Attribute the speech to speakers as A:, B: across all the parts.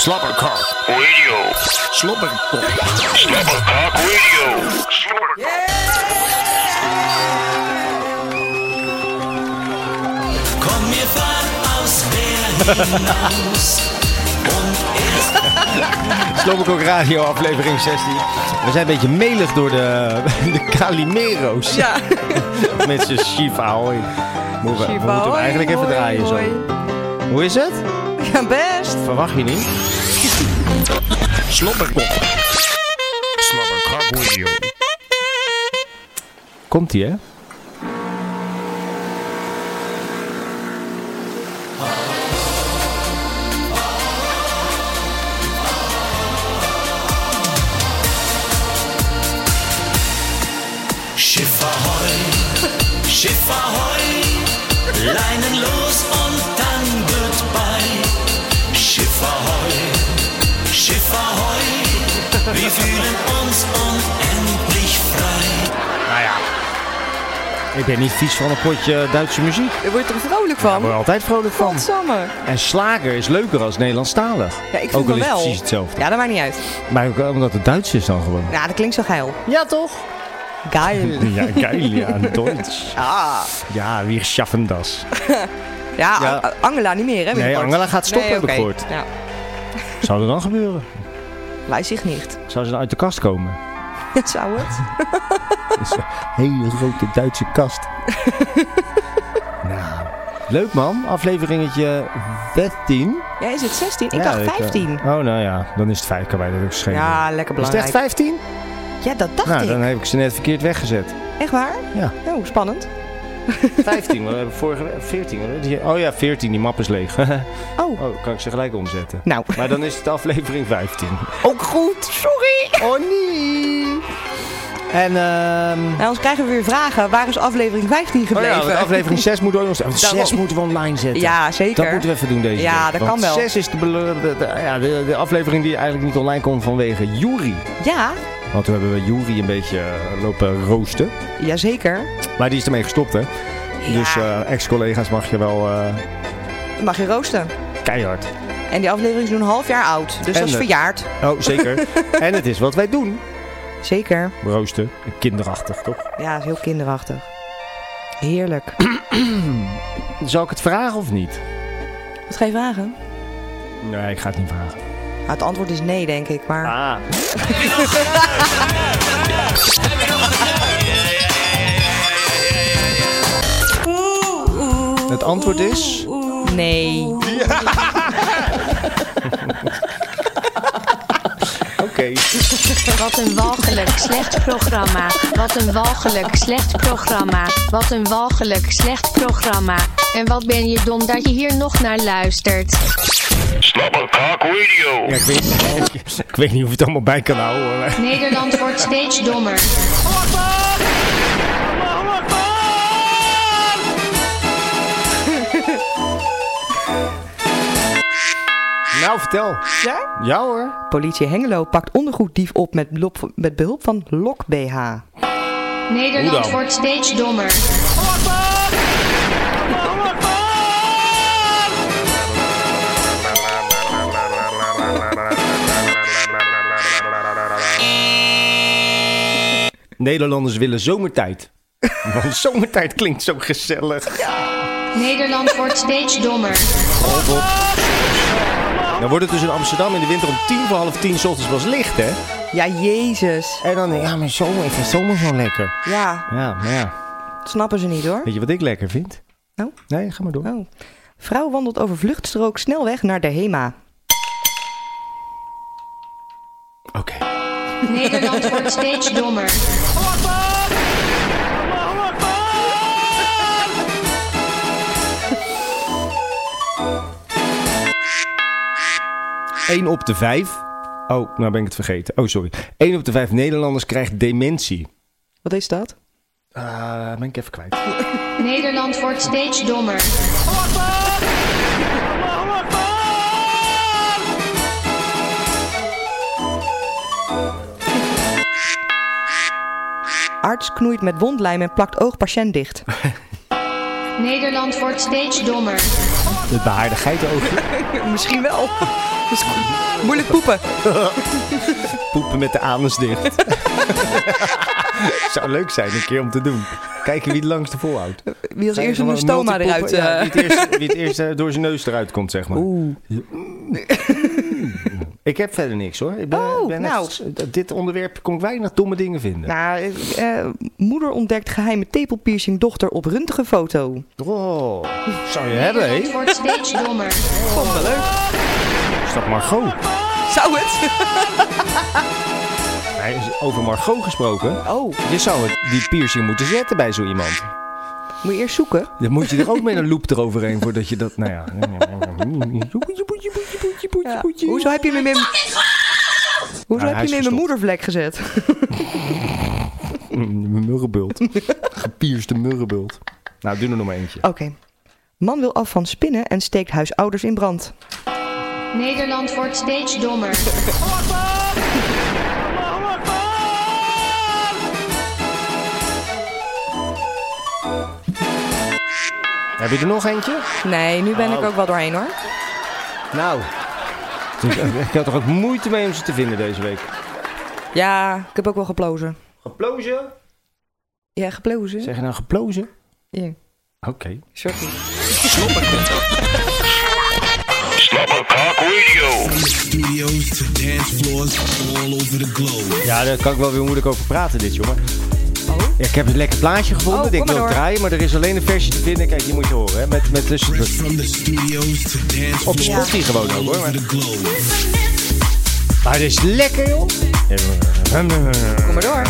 A: Slobberkok.
B: Radio.
A: Slobberkok.
B: Slobbercock Radio. Slobbercock.
C: Komm mir fahr aus Berlin raus und erst
D: Slobberkok Radio, aflevering 16. We zijn een beetje melig door de, de Calimero's.
E: Ja,
D: Met zijn Chief Ahoy. Moeten we, we
E: Shiva,
D: moeten hem
E: hoi,
D: eigenlijk even
E: hoi,
D: draaien zo.
E: hoi.
D: Hoe is het?
E: Ja, best.
D: Verwacht je niet.
A: Slobberkok. Slobberkok Radio.
D: Komt ie, hè?
C: Schiff ahoi, Schiff ahoi, Leinen los und dann goodbye. Schiff ahoi, Schiff ahoi, wir fühlen ons unendlich frei.
D: Nou ja. Ik ben niet vies van een potje Duitse muziek. Ik
E: Je wordt er vrolijk van.
D: word er altijd vrolijk van.
E: Godsamme.
D: En slager is leuker als Nederlandstalig.
E: Ja, ik vind
D: Ook al
E: het
D: is het
E: wel.
D: precies hetzelfde.
E: Ja, dat maakt niet uit.
D: Maar ook eh, omdat het Duits is dan gewoon.
E: Ja, dat klinkt zo geil.
D: Ja, toch?
E: Geil.
D: Ja, geil, ja, Duits.
E: Ah.
D: Ja, wie schaffen das?
E: Ja,
D: Ja.
E: A- Angela niet meer, hè?
D: Nee,
E: binnenkort.
D: Angela gaat stoppen, heb ik
E: oké.
D: gehoord.
E: Ja,
D: Zou er dan gebeuren?
E: wij zich niet.
D: Zou ze dan uit de kast komen?
E: Dat zou het.
D: hele grote Duitse kast. nou, leuk man. Afleveringetje 13.
E: Ja, is het 16? Ik
D: Ja,
E: dacht
D: eh,
E: 15.
D: oh, nou ja. Dan is het 5, kan mij dat ook schelen.
E: ja, lekker
D: is het echt
E: belangrijk.
D: 15?
E: ja, dat dacht
D: nou,
E: ik.
D: dan heb ik ze net verkeerd weggezet.
E: Echt waar?
D: Ja.
E: Oh, spannend.
D: 15, want we hebben vorige week 14. hè? Die- Oh ja, 14, die map is leeg.
E: Oh.
D: oh, kan ik ze gelijk omzetten.
E: Nou,
D: Maar dan is het aflevering 15.
E: ook goed. Sorry.
D: Oh nee! En ehm
E: Nou, anders krijgen we weer vragen. Waar is aflevering 15
D: Oh
E: gebleven?
D: ja, want aflevering 6 moeten we ook nog... want
E: Daarom.
D: 6 moeten we online zetten.
E: Ja, zeker.
D: Dat moeten we even doen deze
E: Ja,
D: week.
E: dat
D: Want
E: kan wel.
D: 6 is de, bele- de, de- ja, de, de aflevering die eigenlijk niet online komt vanwege Juri.
E: Ja,
D: Want toen hebben we Juri een beetje eh, lopen roosten.
E: jazeker.
D: Maar die is ermee gestopt, hè? Dus eh, ex-collega's mag je wel eh,
E: Mag je roosten.
D: keihard.
E: En die aflevering is nu een half jaar oud. Dus
D: En
E: dat is
D: het-
E: verjaard.
D: Oh, zeker. en het is wat wij doen.
E: Zeker.
D: Roosten. Kinderachtig, toch?
E: Ja, is heel kinderachtig. Heerlijk.
D: Zal ik het vragen of niet?
E: Wat ga je vragen?
D: Nee, ik ga het niet vragen.
E: Nou, het antwoord is nee, denk ik. Maar
D: Ah. Het antwoord is...
E: Ah. nee.
D: Oké.
F: Wat een walgelijk slecht programma. Wat een walgelijk slecht programma. Wat een walgelijk slecht programma. En wat ben je dom dat je hier nog naar luistert.
B: Slobbercock
D: Ja,
B: Radio.
D: ik, weet, ik weet niet of ik het allemaal bij kan houden. hoor.
F: Nederland wordt steeds dommer.
D: Nou, vertel.
E: Ja?
D: Ja hoor.
E: Politie Hengelo pakt ondergoeddief op met, lop- met behulp van LokBH.
F: Nederland
D: dan?
F: wordt steeds dommer.
D: Nederlanders willen zomertijd. Want zomertijd klinkt zo gezellig.
F: Nederland wordt steeds dommer.
D: Hop, hop. Dan wordt het dus in Amsterdam in de winter om tien voor half tien 's ochtends pas licht, hè?
E: Ja, jezus.
D: En dan, ja, maar zomer, ik vind zomer zo lekker.
E: Ja,
D: Ja, maar ja.
E: dat snappen ze niet hoor.
D: Weet je wat ik lekker vind?
E: Nou?
D: Nee, ga maar door.
E: Oh. Vrouw wandelt over vluchtstrook snelweg naar de HEMA.
D: Oké.
F: Nederland wordt steeds dommer.
D: Eén op de vijf... Oh, nou ben ik het vergeten. Oh, sorry. Eén op de vijf Nederlanders krijgt dementie.
E: Wat is dat? Eh,
D: Ah, ben ik even kwijt.
F: Nederland wordt steeds dommer.
E: Arts knoeit met wondlijm en plakt oog patiënt dicht.
F: Nederland wordt steeds dommer.
D: Het behaarde geitenoogje.
E: Misschien wel. Dus moeilijk poepen.
D: Poepen met de anus dicht. Zou leuk zijn een keer om te doen. Kijken wie het langste volhoudt.
E: Wie als
D: Ga je
E: eerste een
D: gewoon
E: stoma
D: multipoepen?
E: eruit.
D: Ja,
E: eh,
D: wie, het eerst, wie het eerst eh, door zijn neus eruit komt, zeg maar.
E: Oeh.
D: Ik heb verder niks hoor. Ik ben,
E: Oh,
D: ik ben
E: nou.
D: echt- op dit onderwerp kon ik weinig domme dingen vinden.
E: Nou, eh, eh, moeder ontdekt geheime tepelpiercing dochter op röntgenfoto.
D: Oh, zou je hebben,
F: Het
D: hé?
F: wordt steeds dommer.
E: Vond wel leuk.
D: Is dat Margot?
E: Zou het?
D: Hij is over Margot gesproken.
E: Oh,
D: Je zou het, die piercing moeten zetten bij zo iemand.
E: moet je eerst zoeken?
D: Dan moet je er ook met een loop eroverheen voordat je dat, nou ja.
E: Ja. Hoezo heb je me in mijn... Hoezo
D: Nou, hij is
E: heb je me in mijn
D: gestopt.
E: moedervlek gezet?
D: Mijn murrenbult. Gepierste murrenbult. Nou, doe er nog maar eentje.
E: Oké. Man wil af van spinnen en steekt huisouders in brand.
F: Nederland wordt steeds dommer.
D: Heb je er nog eentje?
E: Nee, nu
D: Oh.
E: ben ik ook wel doorheen hoor.
D: Nou. Dus, eh, Ik had er ook moeite mee om ze te vinden deze week.
E: Ja, ik heb ook wel geplozen.
D: Geplozen?
E: Ja, geplozen?
D: Zeg je nou geplozen?
E: Ja,
D: Oké.
E: sorry.
B: Slobber Cock Radio.
G: studios to dance floors all over the globe.
D: Ja, daar kan ik wel weer moeilijk over praten dit, jongen. Ja, ik heb een lekker plaatje gevonden.
E: Oh,
D: dat
E: kom
D: ik
E: maar
D: wil
E: door.
D: draaien, maar er is alleen een versie te vinden. Kijk, die moet je horen. Hè? Met, met tussen
G: Fresh from the studios to dance
D: Op
G: floors
D: Spotify gewoon ook
G: all
D: hoor.
G: over
D: Maar,
G: the globe.
D: maar dit is lekker, joh.
E: Kom maar door.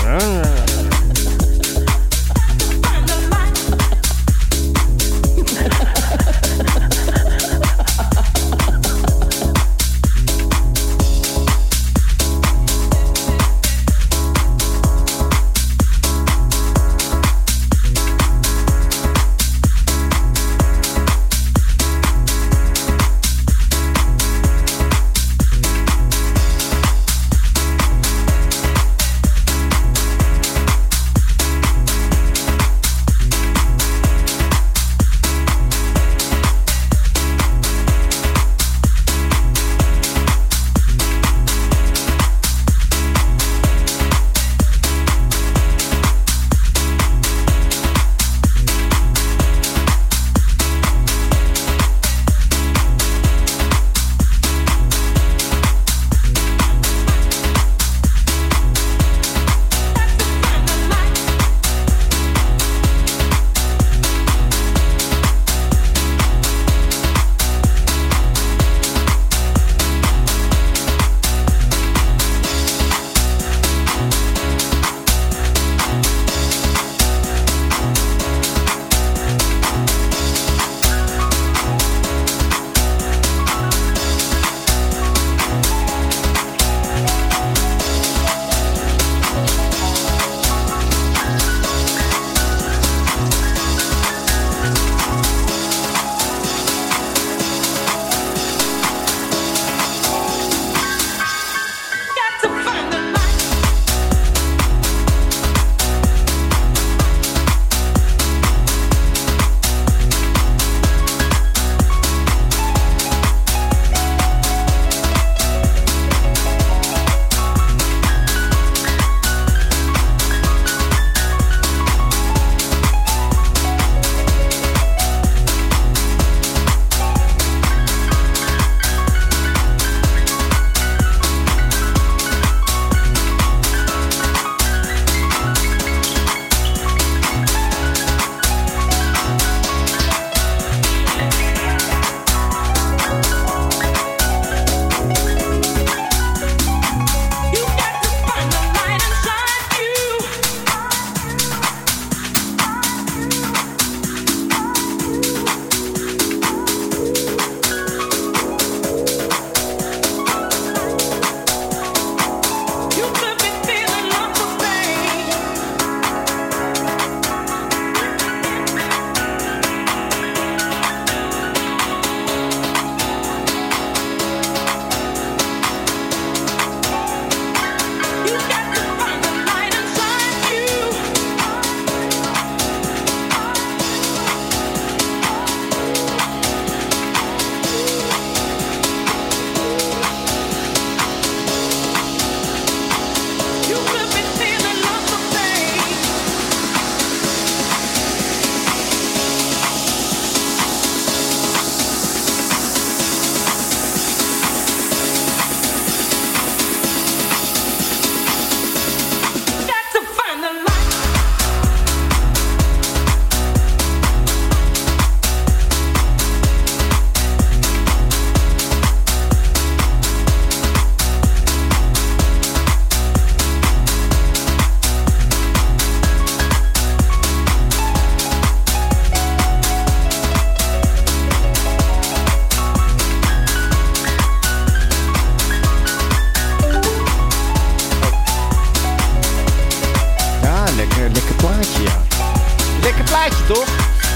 D: plaatje, toch?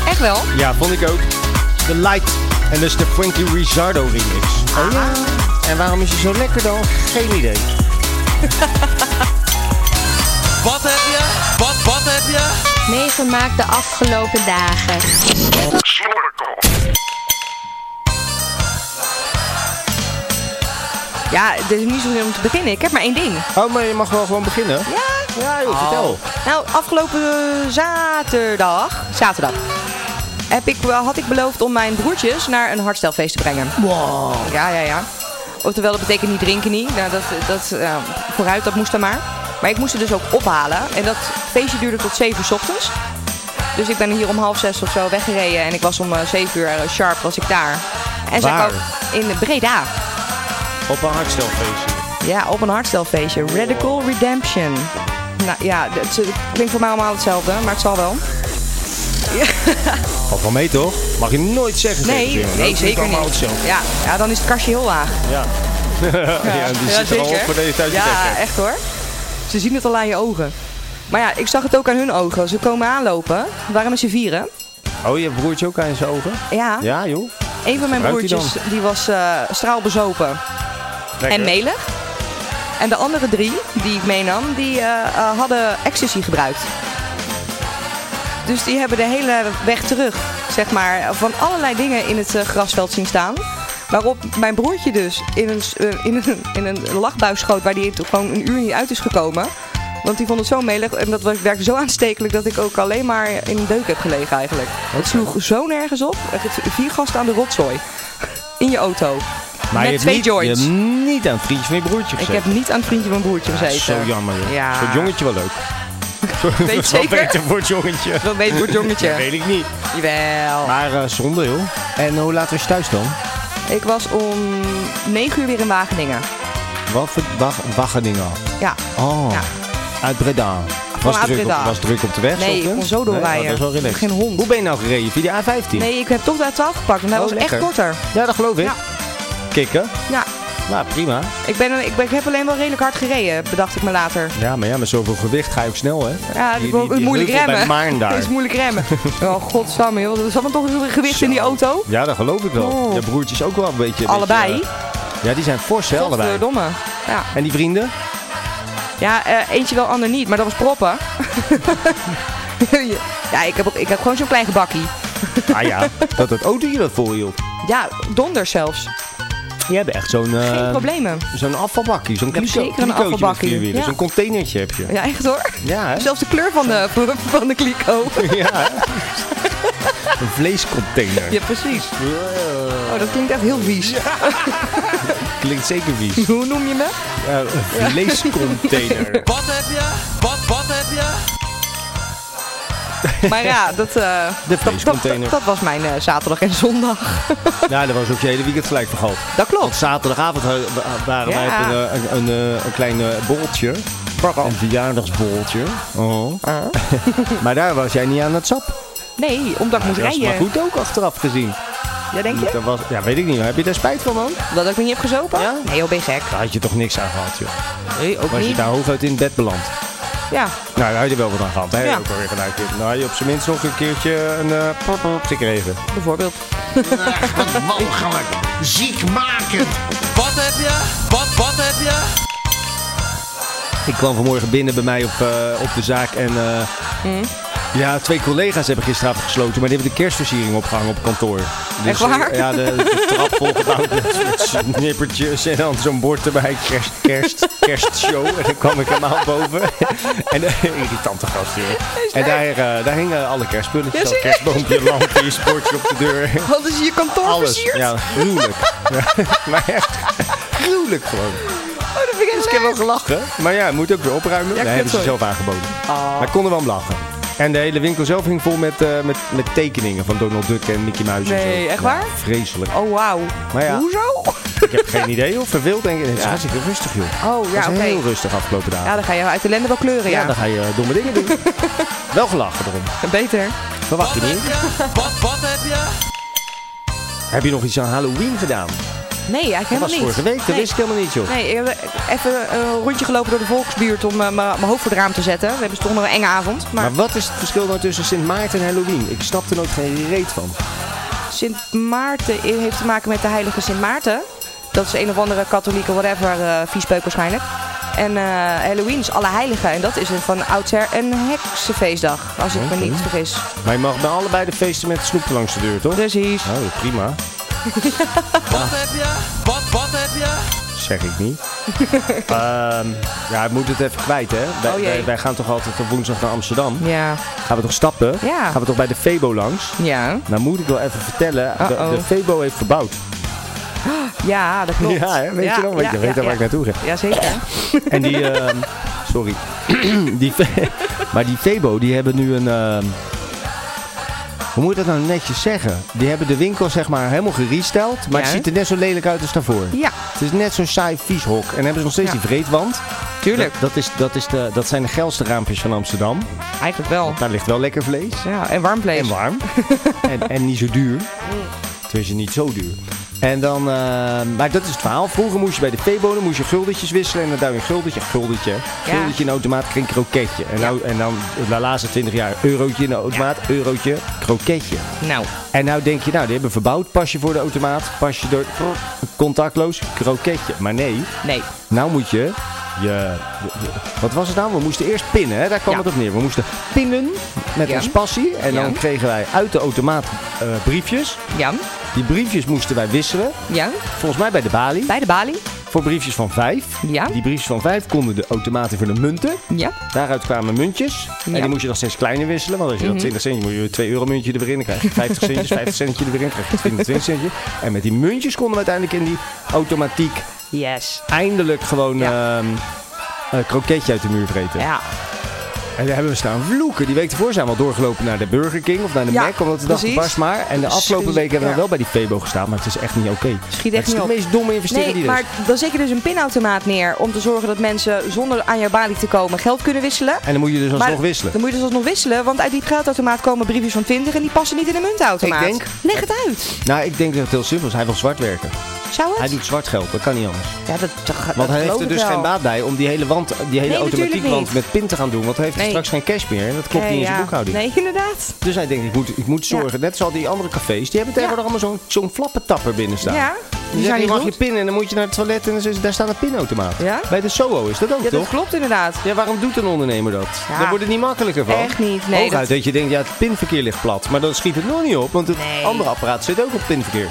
H: Echt wel?
D: Ja, vond ik ook. The Light. En dus de Frankie Rizzardo remix.
E: Ah.
D: Oh ja. En waarom is hij zo lekker dan? Geen idee.
C: Wat heb je? Wat, wat heb je?
F: Meegemaakt de afgelopen dagen.
B: Slobberkok.
E: Ja, er is niet zozeer om te beginnen. Ik heb maar één ding.
D: Oh, maar je mag wel gewoon beginnen.
E: Ja.
D: Ja, joh, vertel.
E: Nou, afgelopen eh, zaterdag, zaterdag heb ik, eh, had ik beloofd om mijn broertjes naar een hardstelfeest te brengen. Wow. Ja, ja, ja. Oftewel, dat betekent niet drinken niet. Nou, dat, dat, eh, vooruit, dat moest dan maar. Maar ik moest ze dus ook ophalen. En dat feestje duurde tot 7 uur 's ochtends. Dus ik ben hier om half zes of zo weggereden. En ik was om eh, 7 uur eh, sharp was ik daar. En zij
D: Waar?
E: kwam in Breda.
D: Op een hartstelfeestje.
E: Ja, op een hardstelfeestje. Radical Redemption. Nou ja, het, het klinkt voor mij allemaal hetzelfde, maar het zal wel.
D: Valt wel mee, toch? Mag je nooit zeggen tegen
E: Nee,
D: kinderen. Dat
E: nee
D: klinkt
E: zeker
D: allemaal
E: niet.
D: hetzelfde.
E: Ja, ja, dan is het kastje heel laag.
D: Ja. ja. die zit er al op voordat je thuis je bed
E: Ja,
D: hebt.
E: echt hoor. Ze zien het al aan je ogen. Maar ja, ik zag het ook aan hun ogen. Ze komen aanlopen. Waarom ze vieren?
D: Oh, je broertje ook aan zijn ogen?
E: Ja,
D: Ja, joh.
E: een van mijn
D: ruikt hij
E: broertjes die was eh, straalbezopen
D: Lekker.
E: en melig. En de andere drie die ik meenam, die eh, eh, hadden ecstasy gebruikt. Dus die hebben de hele weg terug, zeg maar, van allerlei dingen in het eh, grasveld zien staan. Waarop mijn broertje dus in een, s- eh, in een, in een lachbuis schoot waar die gewoon een uur niet uit is gekomen. Want die vond het zo melig en dat werkte zo aanstekelijk dat ik ook alleen maar in een deuk heb gelegen eigenlijk. Het sloeg zo nergens op. Het- Vier gasten aan de rotzooi. In je auto.
D: Maar
E: met
D: je hebt
E: twee
D: niet,
E: joints.
D: Je hebt niet aan het vriendje van je broertje
E: Ik
D: gezeten.
E: heb niet aan het vriendje van mijn broertje
D: Dat
E: gezeten.
D: is zo jammer, joh.
E: Ja.
D: Voor het jongetje wel leuk.
E: Weet je zeker?
D: Wel beter voor het jongetje.
E: Wel beter voor het
D: Dat
E: jongetje.
D: weet ik niet.
E: Jawel.
D: Maar eh, zonde, joh. En hoe laat was je thuis dan?
E: Ik was om 9 uur weer in Wageningen.
D: Wat voor wag- Wageningen?
E: Ja.
D: Oh,
E: Ja.
D: uit Breda. Was,
E: uit
D: druk op-
E: Breda.
D: was druk op de weg?
E: Nee, ik
D: ochtends?
E: kon zo
D: Nee?
E: doorrijden.
D: Oh, dat is wel
E: Ik heb
D: relaxed.
E: Geen hond.
D: Hoe ben je nou gereden? Via de A15?
E: Nee, ik heb toch de A12 gepakt, want hij
D: Oh,
E: was
D: lekker.
E: echt korter.
D: Ja, dat geloof ik.
E: Ja.
D: Kikken.
E: Ja,
D: Nou, prima.
E: ik, ben, ik, ben, ik heb alleen wel redelijk hard gereden, bedacht ik me later.
D: Ja, maar ja, met zoveel gewicht ga je ook snel, hè?
E: Ja,
D: Die-
E: ik
D: die-
E: wil ook
D: die
E: moeilijk
D: heuvel bij
E: remmen.
D: Maarn daar.
E: Het is moeilijk remmen. Oh, godsamme joh. Er zat dan toch een gewicht in die auto?
D: Ja, dat geloof ik wel.
E: Oh.
D: Je broertje is ook wel een beetje... een
E: Allebei.
D: beetje, eh, ja, die zijn fors, hè, allebei.
E: Godverdomme. eh, Ja,
D: En die vrienden?
E: ja eh, eentje wel, ander niet, maar dat was proppen. ja, ik heb, ook, ik heb gewoon zo'n klein gebakkie.
D: Ah ja, dat het autootje dat voor je op.
E: Ja, donders zelfs.
D: Je hebt echt zo'n... eh,
E: Geen problemen.
D: Zo'n afvalbakkie, zo'n
E: Ik heb
D: kliko,
E: zeker een
D: klikootje met
E: afvalbakkie.
D: vier wielen.
E: Ja.
D: Zo'n containertje heb je.
E: Ja, echt hoor.
D: Ja, hè?
E: Zelfs de kleur van de, van de kliko.
D: Ja, hè? Een vleescontainer.
E: Ja, precies. Oh, dat klinkt echt heel vies.
D: Klinkt zeker vies.
E: Hoe noem je me?
D: Ja, een vleescontainer.
C: Wat heb je? Wat, wat heb je?
E: Maar ja, dat, eh,
D: De
E: dat, dat,
D: vleescontainer.
E: dat was mijn eh, zaterdag en zondag.
D: Ja, Nou, daar was ook je hele weekend gelijk van gehad.
E: Dat
D: Want
E: klopt.
D: zaterdagavond eh, wa- waren wij
E: Ja.
D: op een, eh, een, een, eh, een klein eh, borreltje. Een verjaardagsborreltje. Oh.
E: Ah.
D: maar daar was jij niet aan het sap.
E: Nee, omdat ik moest
D: Dat is maar
E: rijden.
D: goed ook achteraf gezien.
E: Ja, denk je?
D: Dat was, ja, weet ik niet. Heb je daar spijt van, man?
E: Dat ik me niet heb gezopen?
D: Ja?
E: Nee, joh, ben je gek.
D: Daar had je toch niks aan gehad, joh.
E: Nee, ook
D: Was je
E: niet.
D: daar hooguit in het bed beland?
E: Ja,
D: Nou, daar had je wel wat aan gehad. Daar heb je
E: Ja.
D: ook alweer gelijk in. Nou, je op zijn minst nog een keertje een eh, pop op gekregen.
E: bijvoorbeeld.
A: Echt onmogelijk. Ziekmakend.
C: Wat heb je? Wat, wat heb je?
D: Ik kwam vanmorgen binnen bij mij op, eh, op de zaak en... eh,
E: Hmm?
D: Ja, twee collega's hebben gisteravond gesloten, maar die hebben de kerstversiering opgehangen op kantoor. Dus,
E: Echt waar?
D: eh, ja, de, de trap volgebouwd met, met snippertjes en dan zo'n bord erbij, kerst, kerst, kerstshow. En dan kwam ik helemaal boven. En eh, irritante gast, joh. En daar, eh, daar hingen alle kerstspulletjes,
E: Ja,
D: al
E: serieus?
D: kerstboompje, lampjes, bordje op de deur.
E: Hadden ze je kantoor
D: Alles.
E: versierd?
D: Ja, gruwelijk. Ja, maar echt gruwelijk gewoon.
E: Oh, dat vind ik
D: Dus
E: echt
D: ik heb wel
E: leuk.
D: gelachen. Maar ja, moet ook weer opruimen.
E: Ja, Oh.
D: nee, hebben ze
E: kutzooi.
D: zelf aangeboden. Maar ik kon er wel om lachen. En de hele winkel zelf hing vol met, eh, met, met tekeningen van Donald Duck en Mickey Mouse. en
E: Nee,
D: zo.
E: echt
D: Ja,
E: waar?
D: vreselijk.
E: Oh, wauw.
D: Maar ja.
E: Hoezo?
D: Ik heb geen idee of verveeld denk ik. Het is hartstikke rustig joh.
E: Oh,
D: Het
E: ja,
D: is
E: oké.
D: heel rustig afgelopen dagen.
E: Ja, dan ga je uit de lende wel kleuren,
D: Ja,
E: ja.
D: dan ga je eh, domme dingen doen. wel gelachen erom.
E: Beter.
D: Verwacht je niet.
C: Wat, wat heb je?
D: Heb je nog iets aan Halloween gedaan?
E: Nee, eigenlijk
D: Dat
E: helemaal
D: was
E: niet.
D: vorige week, dat
E: Nee.
D: wist ik helemaal niet, joh.
E: Nee, ik heb even een rondje gelopen door de volksbuurt om eh, mijn mijn hoofd voor het raam te zetten. We hebben dus toch nog een enge avond. Maar
D: Maar wat is het verschil nou tussen Sint Maarten en Halloween? Ik snap er nooit geen reet van.
E: Sint Maarten i- heeft te maken met de heilige Sint Maarten. Dat is een of andere katholieke whatever, eh viespeuk waarschijnlijk. En eh, Halloween is alle heiligen. En dat is een- van oudsher een heksenfeestdag, als ik me niet vergis.
D: Maar je mag bij allebei de feesten met snoep langs de deur, toch?
E: Precies.
D: Oh, prima.
C: Wat heb je? Wat, wat heb je?
D: Zeg ik niet. Ehm, ja, ik moet het even kwijt, hè? Wij,
E: Oh, jee.
D: wij, wij gaan toch altijd op woensdag naar Amsterdam?
E: Ja.
D: Gaan we toch stappen?
E: Ja.
D: Gaan we toch bij de Febo langs?
E: Ja.
D: Nou moet ik wel even vertellen, de,
E: Uh-oh.
D: de Febo heeft verbouwd.
E: Ja, dat klopt.
D: Ja, hè? weet je nog? Weet je
E: ja,
D: weet je
E: ja,
D: waar ik
E: ja.
D: naartoe ga.
E: Jazeker.
D: En die, ehm, sorry. die, Fe- maar die Febo, die hebben nu een, ehm, hoe moet je dat nou netjes zeggen? Die hebben de winkel zeg maar helemaal geresteld, maar
E: Ja.
D: het ziet er net zo lelijk uit als daarvoor.
E: Ja,
D: Het is net zo'n saai vies hok. En hebben ze nog steeds
E: Ja.
D: die vreedwand.
E: tuurlijk.
D: Dat, dat, is, dat, is de, dat zijn de geilste raampjes van Amsterdam.
E: Eigenlijk wel.
D: Daar ligt wel lekker vlees.
E: Ja, en warm vlees.
D: En warm. en, en niet zo duur. Tenminste, niet zo duur. En dan, eh, maar dat is het verhaal. Vroeger moest je bij de veebonen moest je guldetjes wisselen. En dan duw je een guldetje, guldetje. Guldetje in de automaat, kreeg een kroketje. En, nou, en dan de laatste 20 jaar, eurotje in de automaat, eurotje, kroketje.
E: Nou,
D: En nou denk je, nou, die hebben verbouwd. Pas je voor de automaat, pas je door, contactloos, kroketje. Maar nee,
E: nee.
D: nou moet je, je, je- wat was het nou? We moesten eerst pinnen, hè? daar kwam
E: Ja.
D: het op neer. We moesten pinnen met
E: Ja.
D: ons passie. En dan
E: Ja.
D: kregen wij uit de automaat eh, briefjes.
E: Jan?
D: Die briefjes moesten wij wisselen.
E: Jan?
D: Volgens mij bij de balie.
E: Bij de balie?
D: Voor briefjes van vijf.
E: Ja.
D: Die briefjes van vijf konden de automaten voor de munten.
E: Ja.
D: Daaruit kwamen muntjes. En
E: Ja. Mhm.
D: die moest je dan steeds kleiner wisselen. Want als je dan 20 centje moet je 2 euro muntje er weer in. Dan krijg je 50 centjes, 50 centje er weer in. Dan krijg je 24 centje. En met die muntjes konden we uiteindelijk in die automatiek
E: Yes.
D: eindelijk gewoon
E: Ja.
D: ehm, een kroketje uit de muur vreten.
E: Ja.
D: En daar hebben we staan vloeken. Die week ervoor zijn we al doorgelopen naar de Burger King of naar de
E: Ja,
D: Mac. Omdat we dachten,
E: precies.
D: pas maar. En de afgelopen
E: Precies,
D: weken hebben we
E: ja.
D: wel bij die Febo gestaan. Maar het is echt niet oké.
E: Schiet
D: Het is
E: echt niet
D: de
E: op.
D: meest domme investering
E: Nee,
D: die er
E: maar
D: is.
E: dan zet je dus een pinautomaat neer om te zorgen dat mensen zonder aan jouw balie te komen geld kunnen wisselen.
D: En dan moet je dus alsnog
E: Maar
D: wisselen.
E: Dan moet je dus alsnog wisselen, want uit die geldautomaat komen briefjes van 20 en die passen niet in de muntautomaat.
D: Ik denk-
E: Leg het uit.
D: Nou, ik denk dat het heel simpel is. Hij wil zwart werken.
E: Zou
D: Hij
E: het?
D: doet zwart geld. Dat kan niet anders.
E: Ja, dat, dat,
D: Ah, Want hij heeft er dus geen baat bij om die hele, wand, die hele
E: Nee,
D: automatiek
E: natuurlijk
D: wand
E: niet.
D: met pin te gaan doen. Want hij heeft
E: Nee.
D: straks geen cash meer. En dat klopt niet in zijn boekhouding.
E: Nee, inderdaad.
D: Dus hij denkt, ik moet, ik moet zorgen. Net zoals die andere cafés. Die hebben tegenwoordig allemaal zo'n zo'n flappentapper binnen staan.
E: Ja,
D: Die
E: die
D: zeggen,
E: zijn
D: je
E: niet
D: mag je
E: goed.
D: pinnen en dan moet je naar het toilet en dan is, daar staat een pinautomaat.
E: Ja?
D: Bij de SOO is dat ook,
E: Ja, dat
D: toch?
E: klopt inderdaad.
D: Ja, waarom doet een ondernemer dat?
E: Ja.
D: Daar wordt het niet makkelijker van.
E: Echt niet, nee,
D: Hooguit dat...
E: dat-
D: je denkt, ja, het pinverkeer ligt plat. Maar dan schiet het nog niet op, want het
E: Nee.
D: andere apparaat zit ook op pinverkeer.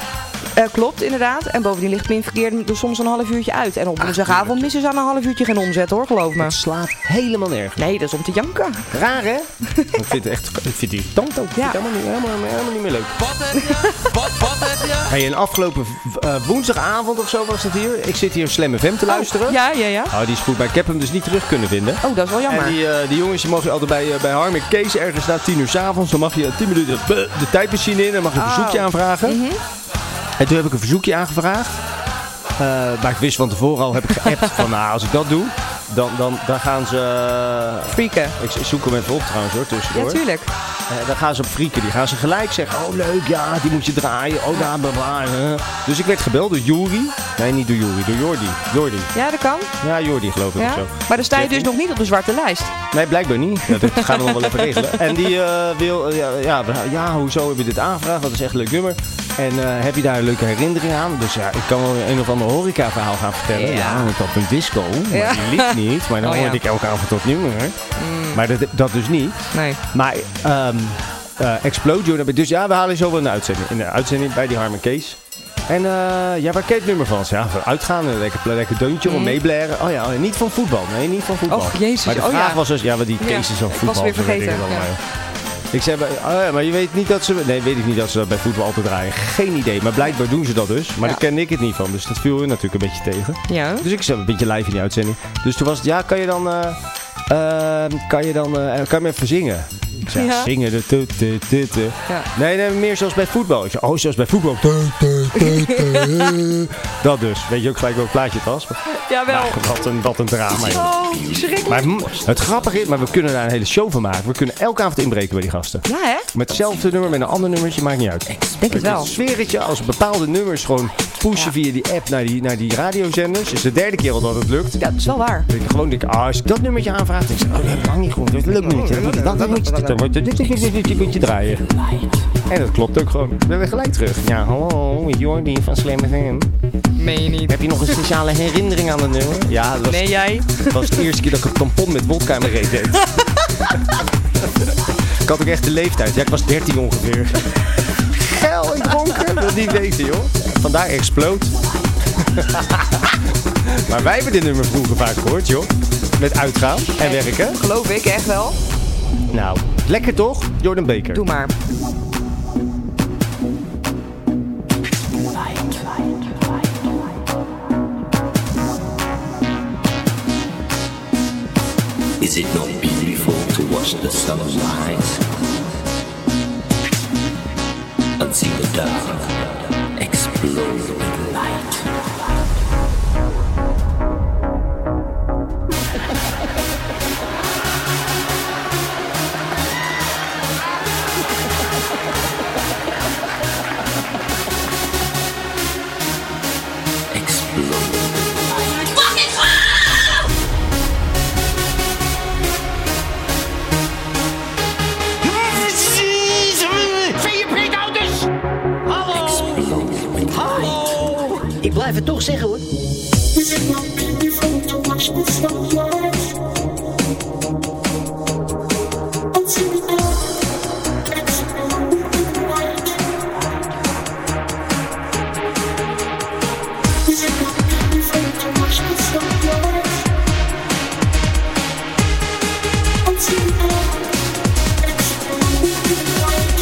E: Eh, klopt, inderdaad. En bovendien ligt pinverkeer er soms een half uurtje uit. En op woensdagavond missen ze aan een half uurtje geen omzet hoor, geloof
D: Het
E: me.
D: slaat helemaal nergens.
E: Nee, dat is om te janken.
D: Raar, hè? ik vind het echt, ik vind die irritant ook. Ik vind
E: Ja.
D: het helemaal niet, helemaal, helemaal niet meer leuk.
C: Wat heb je? Wat, wat heb je?
D: Hey, en afgelopen eh, woensdagavond of zo was het hier. Ik zit hier Slam FM te luisteren.
E: Oh, ja, ja, ja.
D: Oh, die is goed, maar ik heb hem dus niet terug kunnen vinden.
E: Oh, dat is wel jammer.
D: En die, eh, die jongens die mogen altijd bij, eh, bij Harm en Kees ergens na 10 uur s'avonds. Dan mag je 10 minuten de, eh, de tijdmachine in en mag je een
E: Oh.
D: verzoekje aanvragen. En toen heb ik een verzoekje aangevraagd. Eh, maar ik wist van tevoren al, heb ik geappt van nou, als ik dat doe, dan, dan, dan gaan ze... eh,
E: Freaken.
D: Ik zoek hem even op trouwens hoor,
E: Ja,
D: tussendoor.
E: tuurlijk.
D: Eh, dan gaan ze op frieken. Die gaan ze gelijk zeggen, oh leuk, ja, die moet je draaien. Oh, daar, bla, bla, eh. Dus ik werd gebeld door Juri. Nee, niet door Juri, door Jordi. Jordi.
E: Ja, dat kan.
D: Ja, Jordi geloof ik of
E: Ja.
D: zo.
E: Maar dan sta je dus nog niet op de zwarte lijst.
D: Nee, blijkbaar niet. Ja, dat gaan we nog wel even regelen. En die eh, wil, eh, ja, ja, we- ja, hoezo heb je dit aangevraagd? Dat is echt een leuk nummer. En eh, heb je daar een leuke herinnering aan? Dus ja, ik kan wel een of ander horecaverhaal gaan vertellen. Ja,
E: Ja.
D: ik had een disco, maar
E: Ja.
D: die liep niet. Maar dan
E: Oh, ja.
D: hoorde ik elke avond opnieuw. Hè? Maar dat, dat dus niet.
E: Nee.
D: Maar ehm eh Explosion heb ik dus... Ja, we halen zo wel een uitzending. In de uitzending bij die Harm en Kees. En eh, ja, waar ken je het nummer van? Ja, van uitgaan, een lekker, lekker deuntje om meeblaren. Oh ja, niet van voetbal. Nee, niet van voetbal.
E: Mhm. Och, jezus,
D: Maar de
E: oh
D: vraag
E: ja.
D: was dus... Ja, want die Kees
E: Ja,
D: is al
E: ik was
D: voetbal.
E: weer
D: zo weet ik
E: vergeten,
D: het allemaal,
E: ja.
D: joh. Ik zei, maar- oh ja, maar je weet niet dat ze... Nee, weet ik niet dat ze dat bij voetbal altijd draaien. Geen idee, maar blijkbaar doen ze dat dus. Maar
E: Ja.
D: daar ken ik het niet van, dus dat viel hun natuurlijk een beetje tegen.
E: Ja.
D: Dus ik zat een beetje live in die uitzending. Dus toen was het, ja, kan je dan... eh, ehm, kan je dan... eh, kan je me even zingen? Ik zei,
E: Ja.
D: zingen. De tu, tu, tu, tu.
E: Ja.
D: Nee, nee, meer zoals bij voetbal. Ik zei, oh, zoals bij voetbal. Tu, tu, tu, tu. Dat dus. Weet je ook gelijk welk plaatje het was? Nou,
E: Jawel.
D: Wat een, wat een drama. joh.
E: Oh, schrikkelijk.
D: Maar mm, het grappige is, maar we kunnen daar een hele show van maken. We kunnen elke avond inbreken bij die gasten.
E: Ja, hè?
D: Met hetzelfde nummer, met een ander nummertje, maakt niet uit.
E: Denk het wel.
D: Het sfeertje als bepaalde nummers gewoon pushen via die app naar die, naar die radiozenders. Het is de derde keer al dat het lukt.
E: Ja, dat is wel waar.
D: Dat ik gewoon denk, ah, als ik dat nummertje aanvraag, denk ik, oh, dat heb ik lang niet gehoord. Dat is een leuk nummertje. Dan moet je dat, dan moet je dit, dan moet je dit, dan moet je dit, dan moet je draaien. En dat klopt ook gewoon. We zijn gelijk terug. Ja, hallo, Jordi van Slim FM.
E: Meen je niet.
D: Heb je nog een speciale herinnering aan het nummer? Ja, dat was,
E: Nee, jij?
D: dat was de eerste keer dat ik een tampon met wodka in mijn reet deed. ik had ook echt de leeftijd. Ja, ik was 13 ongeveer. Geil, ik dronken. Dat niet weten, joh. Vandaar Exploot. maar wij hebben dit nummer vroeger vaak gehoord, joh. Met uitgaan en werken.
E: Geloof ik, echt wel.
D: Nou, lekker toch? Jordan Baker.
E: Doe maar.
H: Is it not beautiful to watch the sun rise and see the dark explode with light? Explode.
A: Vind je piekouders?
H: Explode with light.
I: Ik blijf het toch zeggen hoor.
J: Is it not beautiful to watch the sunrise? And see the earth explode with light. Is it not beautiful to watch the sunrise? And see the earth explode with light.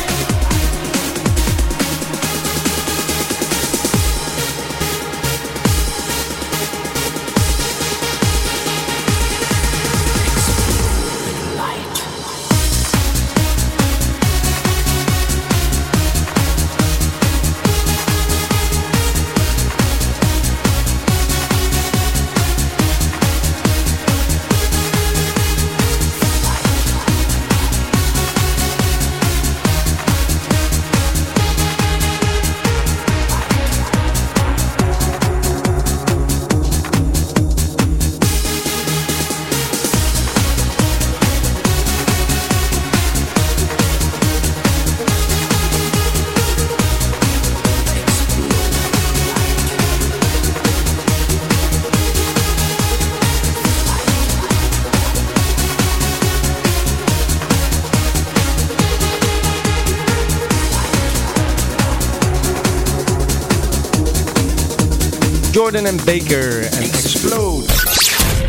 D: Jordan en Baker en Explode.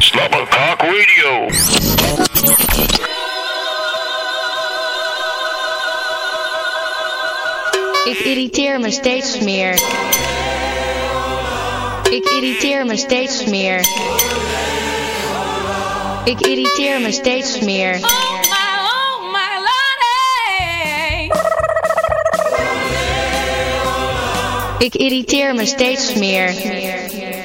B: Slobberkok Radio.
F: Ik irriteer me steeds meer. Ik irriteer me steeds meer. Ik irriteer me steeds meer. Ik irriteer me steeds meer.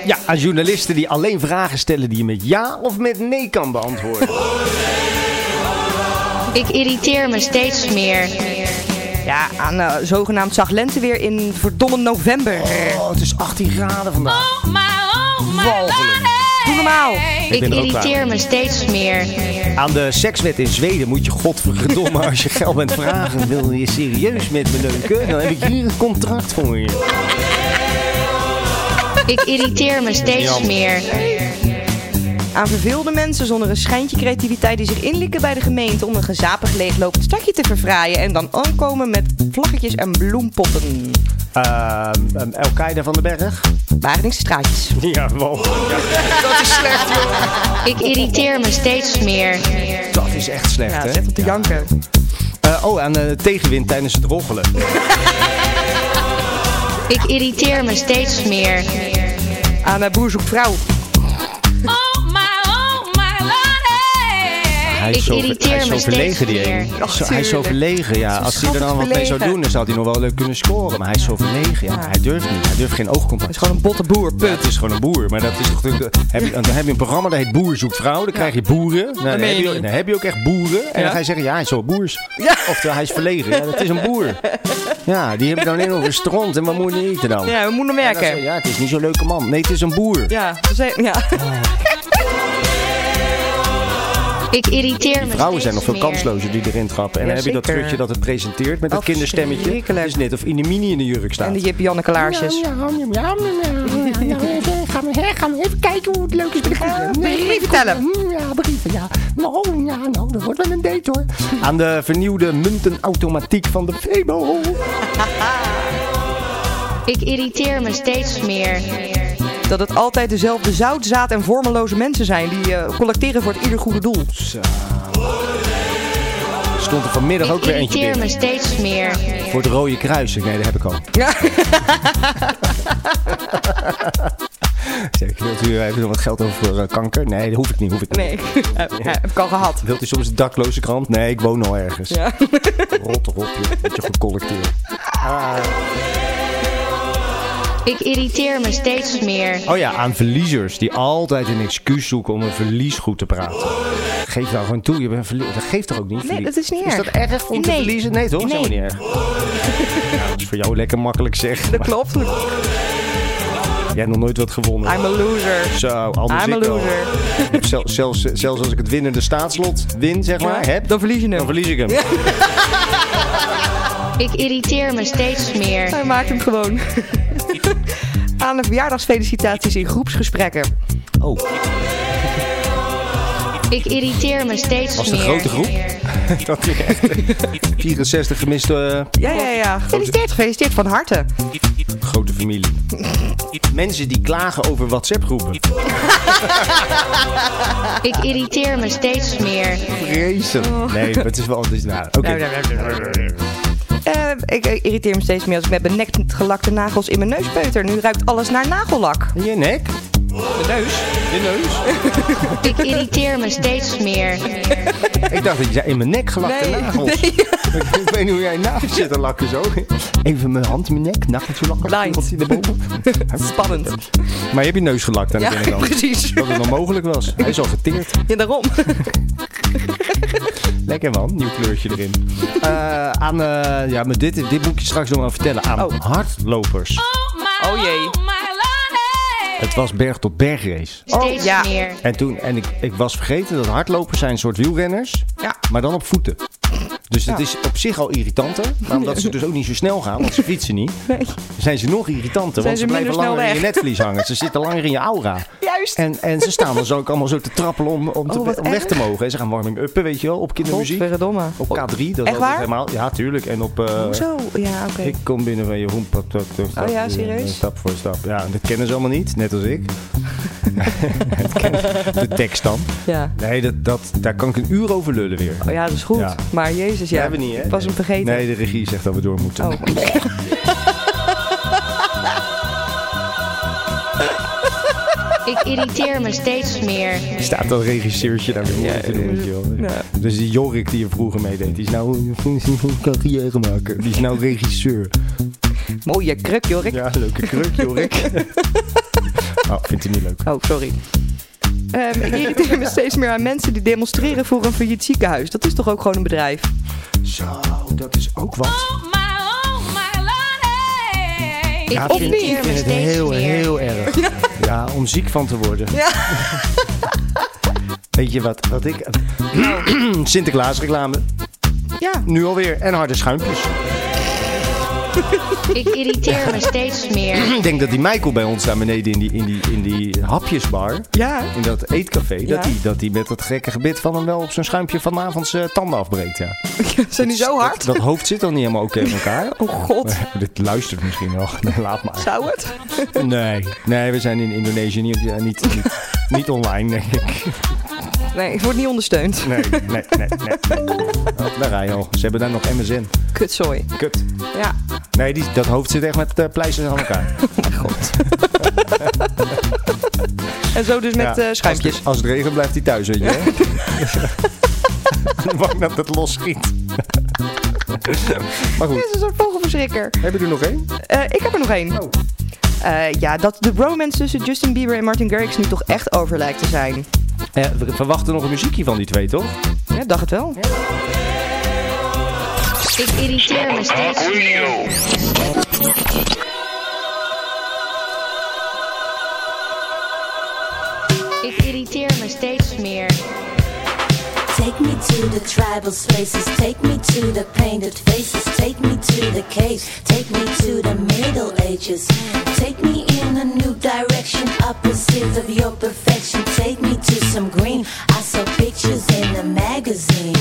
D: Ja, aan journalisten die alleen vragen stellen die je met ja of met nee kan beantwoorden.
F: Ik irriteer me steeds meer.
E: Ja, aan eh, zogenaamd zag lente weer in verdomme november.
D: Oh, het is 18 graden vandaag.
E: Doe normaal.
F: Ik
D: ben er ook klaar
F: irriteer me steeds meer.
D: Aan de sekswet in Zweden moet je godverdomme als je geld bent vragen. Wil je serieus met me neuken? Dan heb ik hier een contract voor je.
F: Ik irriteer me steeds meer.
E: Aan verveelde mensen zonder een schijntje creativiteit die zich inlikken bij de gemeente om een gezapig leeglopend stadje te verfraaien en dan aankomen met vlaggetjes en bloempotten.
D: Ehm El-Qaeda van de Berg?
E: Wageningse straatjes.
D: Ja, wel.
F: Ik irriteer me steeds meer.
D: Dat is echt slecht,
E: Ja,
D: hè?
E: zet op de janken.
D: Eh, oh, aan de tegenwind tijdens het roggelen.
F: Ik irriteer me steeds meer.
E: Aan mijn broer zoekt vrouw.
D: Hij
F: Ik
D: ver-
F: irriteer
D: hij is zo
F: me
D: verlegen, die
F: steeds
D: een.
F: meer.
E: Ach,
D: Zo- hij is zo
E: tuurlijk.
D: verlegen, ja. Als hij er dan wat mee zou
E: verlegen.
D: doen, dan zou hij nog wel leuk kunnen scoren. Maar hij is zo verlegen, ja. Hij durft niet. Hij durft geen oogcontact.
E: Het is gewoon een botte boer,
D: Ja,
E: put.
D: het is gewoon een boer. Maar dat is toch natuurlijk. Heb je, dan heb je een programma dat heet Boer zoekt vrouw. Dan krijg je boeren. Nou, dan,
E: meen
D: heb
E: je
D: je,
E: niet.
D: dan heb je ook echt boeren. En
E: Ja.
D: dan ga je zeggen: ja, hij is wel boers.
E: Ja.
D: Of hij is verlegen. Ja, dat is een boer. Ja, die hebben dan heel veel stront en wat moet je niet eten dan?
E: Ja, we moeten
D: En dan zeg je,
E: merken.
D: ja, het is niet zo'n leuke man. Nee, het is een boer.
E: Ja, ze zei- ja.
F: Ik irriteer me
D: Vrouwen
F: steeds
D: zijn nog veel
F: meer.
D: kanslozer die erin trappen. En dan heb je dat
E: Jazeker.
D: trucje dat het presenteert met dat
E: Oh,
D: kinderstemmetje. Het
E: verschrikkelijk.
D: is net of Inemini in de jurk staat.
E: En de Jip Janneke laarsjes.
A: Gaan we, hè, gaan we even kijken hoe het leuk is bij de kinderen.
E: Brieven tellen.
A: Hm, Ja, brieven, ja. Oh, ja, nou, dat wordt wel een date hoor.
D: Aan de vernieuwde muntenautomatiek van de Febo.
F: Ik irriteer me steeds meer.
E: Dat het altijd dezelfde zoutzaad en vormeloze mensen zijn die eh, collecteren voor het ieder goede doel.
D: Er stond er vanmiddag ook
F: Ik
D: weer eentje
F: irriteer me
D: binnen.
F: steeds meer.
D: Voor het rode kruis. Nee, dat heb ik al. Zeg, wilt u, eh, heeft u nog wat geld over voor eh, kanker? Nee, dat hoef ik niet. Hoef ik niet.
E: Nee, heb heb ik al gehad.
D: Wilt u soms een dakloze krant? Nee, ik woon al ergens.
E: Ja.
D: Rot erop, joh. Beetje goed collecteerd.
F: Ik irriteer me steeds meer.
D: Oh ja, aan verliezers die altijd een excuus zoeken om een verlies goed te praten. Geef nou gewoon toe, je bent een verlie- Dat geeft toch ook niet?
E: Nee,
D: verlie-
E: dat is niet
D: Is
E: erg.
D: dat erg om te
E: Nee.
D: verliezen? Nee, toch? Dat is
E: Nee.
D: helemaal niet erg. Ja, dat is voor jou lekker makkelijk zeg.
E: Dat klopt.
D: Jij hebt nog nooit wat gewonnen.
E: I'm a loser.
D: Zo, anders
E: I'm a
D: ik wel.
E: loser.
D: Ik heb zel- zelfs, zelfs als ik het winnende staatslot win, zeg maar,
E: Ja,
D: heb,
E: dan verlies je hem.
D: dan verlies ik hem.
F: Ik irriteer me steeds meer.
E: Hij maakt hem gewoon. Aan de verjaardagsfelicitaties in groepsgesprekken.
D: Oh,
F: Ik irriteer me steeds
D: was
F: meer.
D: het een grote groep? dat is echt 64 gemiste eh,
E: Ja, ja, ja. Gefeliciteerd, gefeliciteerd van harte.
D: grote familie. Mensen die klagen over WhatsApp-groepen.
F: Ik irriteer me steeds meer.
D: Vreselijk. Oh. Nee, maar het is wel... Het is, nou, oké.
E: Eh, ik eh, irriteer me steeds meer als ik met mijn nek gelakte nagels in mijn neus peuter. Nu ruikt alles naar nagellak.
D: Je nek? De neus? Je neus?
F: Ik irriteer me steeds meer.
D: Ik dacht dat je zei in mijn nek gelakte
E: Nee,
D: nagels. Ik weet niet hoe jij nagels zit te lakken zo. Even mijn hand in mijn nek, nageltje lakken.
E: Blind.
D: Wat zit erboven?
E: Spannend.
D: Maar je hebt je neus gelakt aan de
E: Ja,
D: binnenkant.
E: precies.
D: Dat het nog mogelijk was. Hij is al geteerd.
E: Ja, daarom.
D: Lekker man, nieuw kleurtje erin. Eh, aan, eh, ja, maar dit, dit moet ik je straks nog wel vertellen. Aan
E: Oh.
D: hardlopers.
E: Oh jee.
D: Het was berg tot bergrace.
F: Steeds
E: ja.
F: meer.
D: En, toen, en ik, ik was vergeten dat hardlopers zijn een soort wielrenners,
E: Ja.
D: maar dan op voeten. Dus dat is op zich al irritanter, maar omdat ze dus ook niet zo snel gaan, want ze fietsen niet, zijn ze nog irritanter,
E: Zijn
D: want
E: ze
D: ze blijven
E: minder snel
D: langer in je
E: weg.
D: netvlies hangen. Ze zitten langer in je aura.
E: Juist.
D: En, en ze staan dan zo ook allemaal zo te trappelen om, om, te-
E: Oh, wat
D: om weg
E: erg.
D: te mogen. En ze gaan warming-uppen, weet je wel, op kindermuziek.
E: Godverdomme.
D: Op K3, dat was het
E: waar?
D: helemaal. Ja, tuurlijk. En op... eh,
E: Zo, ja, oké.
D: ik kom binnen van Jeroen. Pap, tap, tap, tap,
E: Oh ja,
D: eh,
E: serieus?
D: Stap voor stap. Ja, en dat kennen ze allemaal niet, net als ik. Het kennen- de tekst dan.
E: Ja.
D: Nee, dat, dat, daar kan ik een uur over lullen weer.
E: Oh, ja, dat is goed.
D: Ja.
E: Maar jezus, ja.
D: Dat hebben we niet, hè?
E: Ik was hem vergeten.
D: Nee, de regie zegt dat we door moeten.
E: Oh.
F: Ik irriteer me steeds meer.
D: Staat dat regisseurtje daar weer moeilijk te doen, weet je wel. Dus die Jorik die je vroeger meedeed, die is nou een carrière maken. Die is nou regisseur.
E: Mooie kruk, Jorik.
D: Ja, leuke kruk, Jorik. oh, vindt hij niet leuk.
E: Oh, sorry. Ehm, ik irriteer me steeds meer aan mensen die demonstreren voor een failliet ziekenhuis. Dat is toch ook gewoon een bedrijf?
D: Zo, dat is ook wat.
F: Ik
D: Ja, vind-
F: irriteer me
D: vind het
F: steeds
D: heel,
F: meer.
D: heel erg. Ja. om ziek van te worden. Weet je wat, wat ik... Sinterklaas reclame.
E: Ja.
D: Nu alweer. En harde schuimpjes.
F: Ik irriteer me steeds meer.
D: Ik denk dat die Michael bij ons daar beneden in die, in die, in die hapjesbar...
E: Ja.
D: In dat eetcafé,
E: Ja.
D: dat hij dat die met dat gekke gebit van hem wel op zijn schuimpje vanavond zijn tanden afbreekt. Ja.
E: Zijn die zo hard?
D: Dat, dat hoofd zit dan niet helemaal oké in elkaar.
E: Oh god.
D: Dit luistert misschien wel. Nee, laat maar.
E: Zou het?
D: Nee, nee, we zijn in Indonesië niet, ja, niet, niet, niet online, denk ik.
E: Nee, ik word niet ondersteund.
D: Nee, nee, nee, nee. nee. Oh, daar ga je al. Ze hebben daar nog MSN.
E: Kutzooi.
D: Kut.
E: Ja.
D: Nee, die, dat hoofd zit echt met eh, pleisters aan elkaar.
E: En zo dus met
D: Ja,
E: eh, schuimpjes.
D: Als het, als het regent blijft hij thuis, weet je hè? En Bang dat het los schiet. maar
E: Dit
D: goed,
E: is een soort vogelverschrikker.
D: heb je er nog één?
E: Eh, ik heb er nog één.
D: Oh.
E: Eh, ja, dat de romance tussen Justin Bieber en Martin Garrix nu toch echt over lijkt te zijn.
D: Eh, we verwachten nog een muziekje van die twee, toch?
E: Ja, dacht het wel.
F: Ik irriteer me
B: Talk
F: steeds meer.
B: Radio.
F: Ik irriteer me steeds meer.
J: Take me to the tribal spaces, take me to the painted faces, take me to the caves, take me to the middle ages. Take me in a new direction, opposite of your perfection. Take me to some green. I saw pictures in a magazine.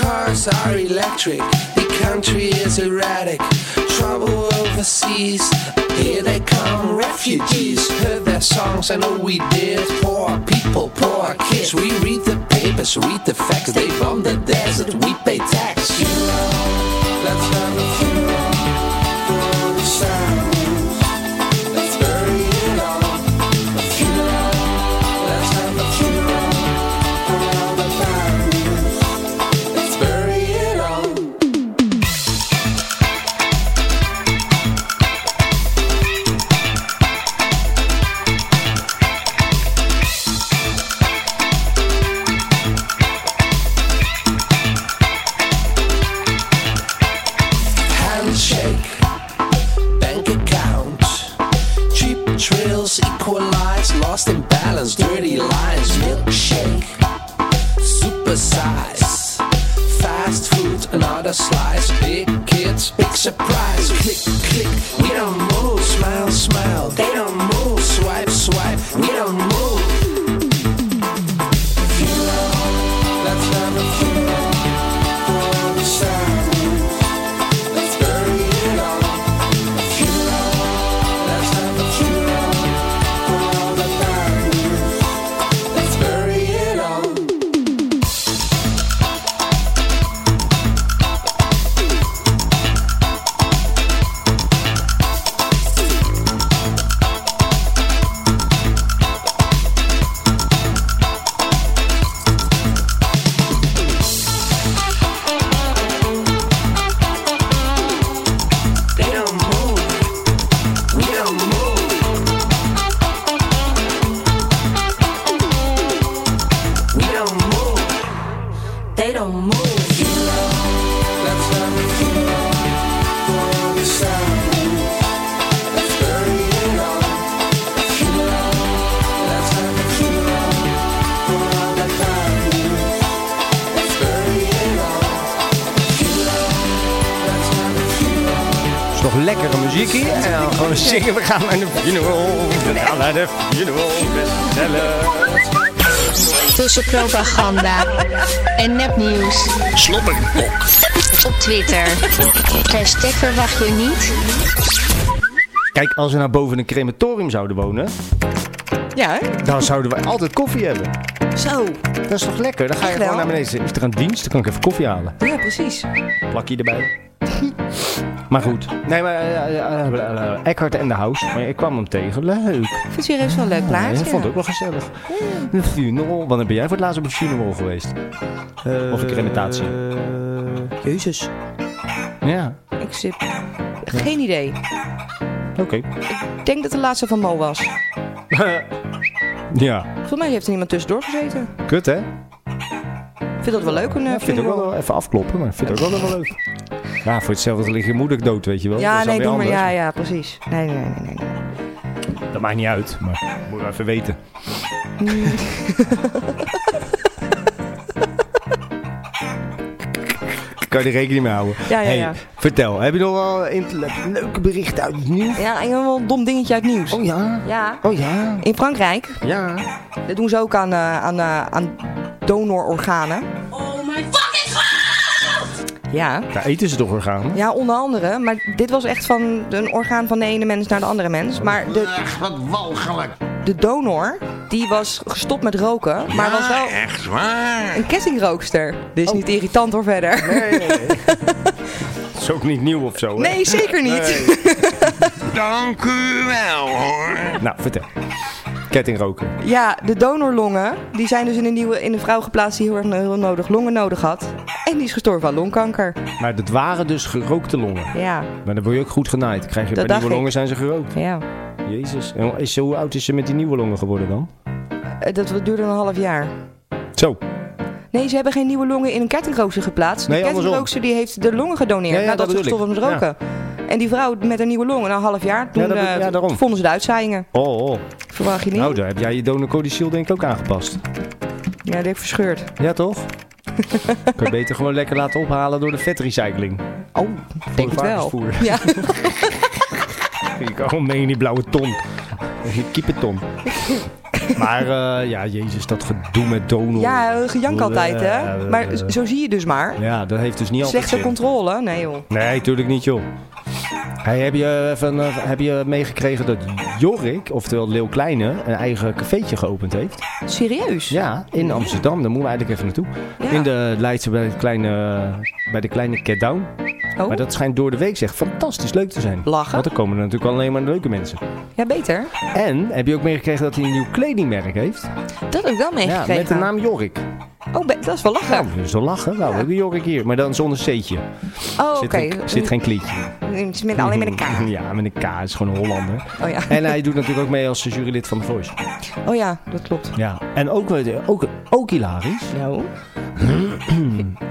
K: Cars are electric, the country is erratic. Trouble overseas, here they come. Refugees heard their songs, I know we did. Poor people, poor kids. We read the papers, read the facts. They bomb the desert, we pay tax. Hero, let's have a funeral for the sound. Let's bury it all. A funeral, let's have a funeral for all the families. Let's bury it all. Handshake, bank account, cheap trills equalize, lost in balance, dirty lines, milkshake, supersize, fast food, another slice, big kids, big surprise, click, click, we don't move, smile, smile, they don't move, swipe, swipe, we don't move. Funeral, let's have a funeral for the sound. Let's bury it all. A funeral. Let's have a funeral for all the families. Let's bury it all. They don't move. We don't move. We don't move.
J: They don't move.
K: Let's have a funeral for all the sound. Let's bury it all. A funeral. Let's have a funeral for all the families. Let's bury it all. A funeral. Let's have a funeral.
D: is nog lekkere muziek hier. En dan gewoon zingen. We gaan naar de funeral. We gaan naar de funeral. Bestellen.
F: Tussen propaganda en nepnieuws.
B: Slobberkok.
F: Op Twitter. Hashtag verwacht je niet.
D: Kijk, als we nou boven een crematorium zouden wonen,
E: Ja, hè?
D: dan zouden wij altijd koffie hebben.
E: Zo.
D: Dat is toch lekker? Dan ga je
E: Echt
D: gewoon
E: wel?
D: naar beneden zitten. Is er een dienst? Dan kan ik even koffie halen.
E: Ja, precies.
D: Plakje erbij. Maar goed. Nee, maar eh, eh, eh, eh, Eckhart en de House. Maar ik kwam hem tegen. Leuk.
E: Ik vind het serieus wel een leuk
D: Ja,
E: plaatje.
D: ik vond het ook wel gezellig. Een funeral. Wanneer ben jij voor het laatst op een funeral geweest? of een crematie?
E: Eh, Jezus.
D: Ja.
E: Ik zit... Geen idee.
D: Oké.
E: Ik denk dat de laatste van Mo was.
D: ja.
E: Volgens mij heeft er iemand tussendoor gezeten.
D: Kut, hè?
E: Ik vind dat wel leuk, een
D: Ja,
E: eh,
D: ik vind het ook
E: funeral.
D: wel even afkloppen, maar ik vind het ook wel, wel leuk. Ja, voor hetzelfde lig je moeder dood, weet je wel.
E: Ja,
D: Dat is dan
E: nee,
D: weer
E: doe maar.
D: anders.
E: Ja, ja, precies. Nee, nee, nee, nee. nee.
D: Dat maakt niet uit, maar moet je even weten. Ik kan je er rekening mee houden.
E: Ja, ja, ja.
D: Hey, vertel, heb je nog wel inter- leuke berichten uit het nieuws?
E: Ja, en wel een dom dingetje uit het nieuws.
D: Oh ja,
E: Ja.
D: oh ja,
E: In Frankrijk,
D: ja.
E: dat doen ze ook aan, eh, aan, eh, aan donororganen. Oh my fucking god! Ja.
D: Daar eten ze toch orgaan?
E: Ja, onder andere. Maar dit was echt van een orgaan van de ene mens naar de andere mens. Maar de... De donor, die was gestopt met roken, maar was wel
C: Echt waar?
E: een kettingrookster. Oh. Dit is niet irritant hoor verder.
D: Nee, nee, nee. Dat is ook niet nieuw of zo, hè?
E: Nee, zeker niet.
C: Dank u wel hoor.
D: Nou, vertel. Kettingroken.
E: Ja, de donorlongen, die zijn dus in een, nieuwe, in een vrouw geplaatst die heel erg heel nodig longen nodig had. En die is gestorven aan longkanker.
D: Maar dat waren dus gerookte longen.
E: Ja,
D: Maar dan word je ook goed genaaid. Krijg je
E: Dat
D: bij
E: dacht
D: nieuwe
E: ik.
D: longen zijn ze gerookt.
E: ja.
D: Jezus. En is ze, hoe oud is ze met die nieuwe longen geworden dan?
E: Eh, Dat duurde een half jaar.
D: Zo.
E: Nee, ze hebben geen nieuwe longen in een kettingrookster geplaatst.
D: Nee,
E: de
D: andersom.
E: kettingrookster die heeft de longen gedoneerd
D: Ja, ja,
E: nadat
D: dat
E: ze
D: bedoel
E: gestopt
D: ik.
E: was met roken. En die vrouw met een nieuwe long na een half jaar, toen
D: Ja, dat-
E: eh,
D: ja, daarom.
E: vonden ze de uitzaaiingen.
D: Oh, oh.
E: Verwacht je niet?
D: Nou, daar heb jij je donorcodiciel denk ik ook aangepast.
E: Ja, die heb ik verscheurd.
D: Ja, toch? Kun je beter gewoon lekker laten ophalen door de vetrecycling.
E: Oh, denk
D: het
E: het wel.
D: varkensvoer.
E: Ja.
D: Ik oh, meen die blauwe ton. Kiepenton. Maar eh, ja, jezus, dat gedoe met Donald.
E: Ja, eh, gejank altijd, hè? Maar z- zo zie je dus maar.
D: eh, Ja, dat heeft dus niet altijd zin.
E: Slechte controle? Nee, joh.
D: Nee, tuurlijk niet, joh. Hey, heb, je even, eh, heb je meegekregen dat Jorik, oftewel Leeuw Kleine, een eigen cafeetje geopend heeft?
E: Serieus?
D: Ja, in Amsterdam. Daar moeten we eigenlijk even naartoe. In de Leidse bij, het kleine, bij de kleine Cat Down.
E: Oh.
D: Maar dat schijnt door de week zeg fantastisch leuk te zijn.
E: Lachen.
D: Want er komen er natuurlijk alleen maar leuke mensen.
E: Ja, beter.
D: En heb je ook meegekregen dat hij een nieuw kledingmerk heeft?
E: Dat heb ik wel
D: Ja,
E: meegekregen.
D: met de naam Jorik.
E: Oh, be- dat is wel lachen.
D: Nou, zo lachen. Nou, we hebben Jorik hier. Maar dan zonder C'tje.
E: oh, oké.
D: Zit, geen, zit geen klietje.
E: Mm, ze met- Alleen met een kaart.
D: Ja, met een K. Het is gewoon een Hollander.
E: Oh ja.
D: En eh, hij doet natuurlijk ook mee als jurylid van The Voice.
E: Oh ja, dat klopt.
D: Ja. En ook, eh, ook, ook hilarisch.
E: Nou.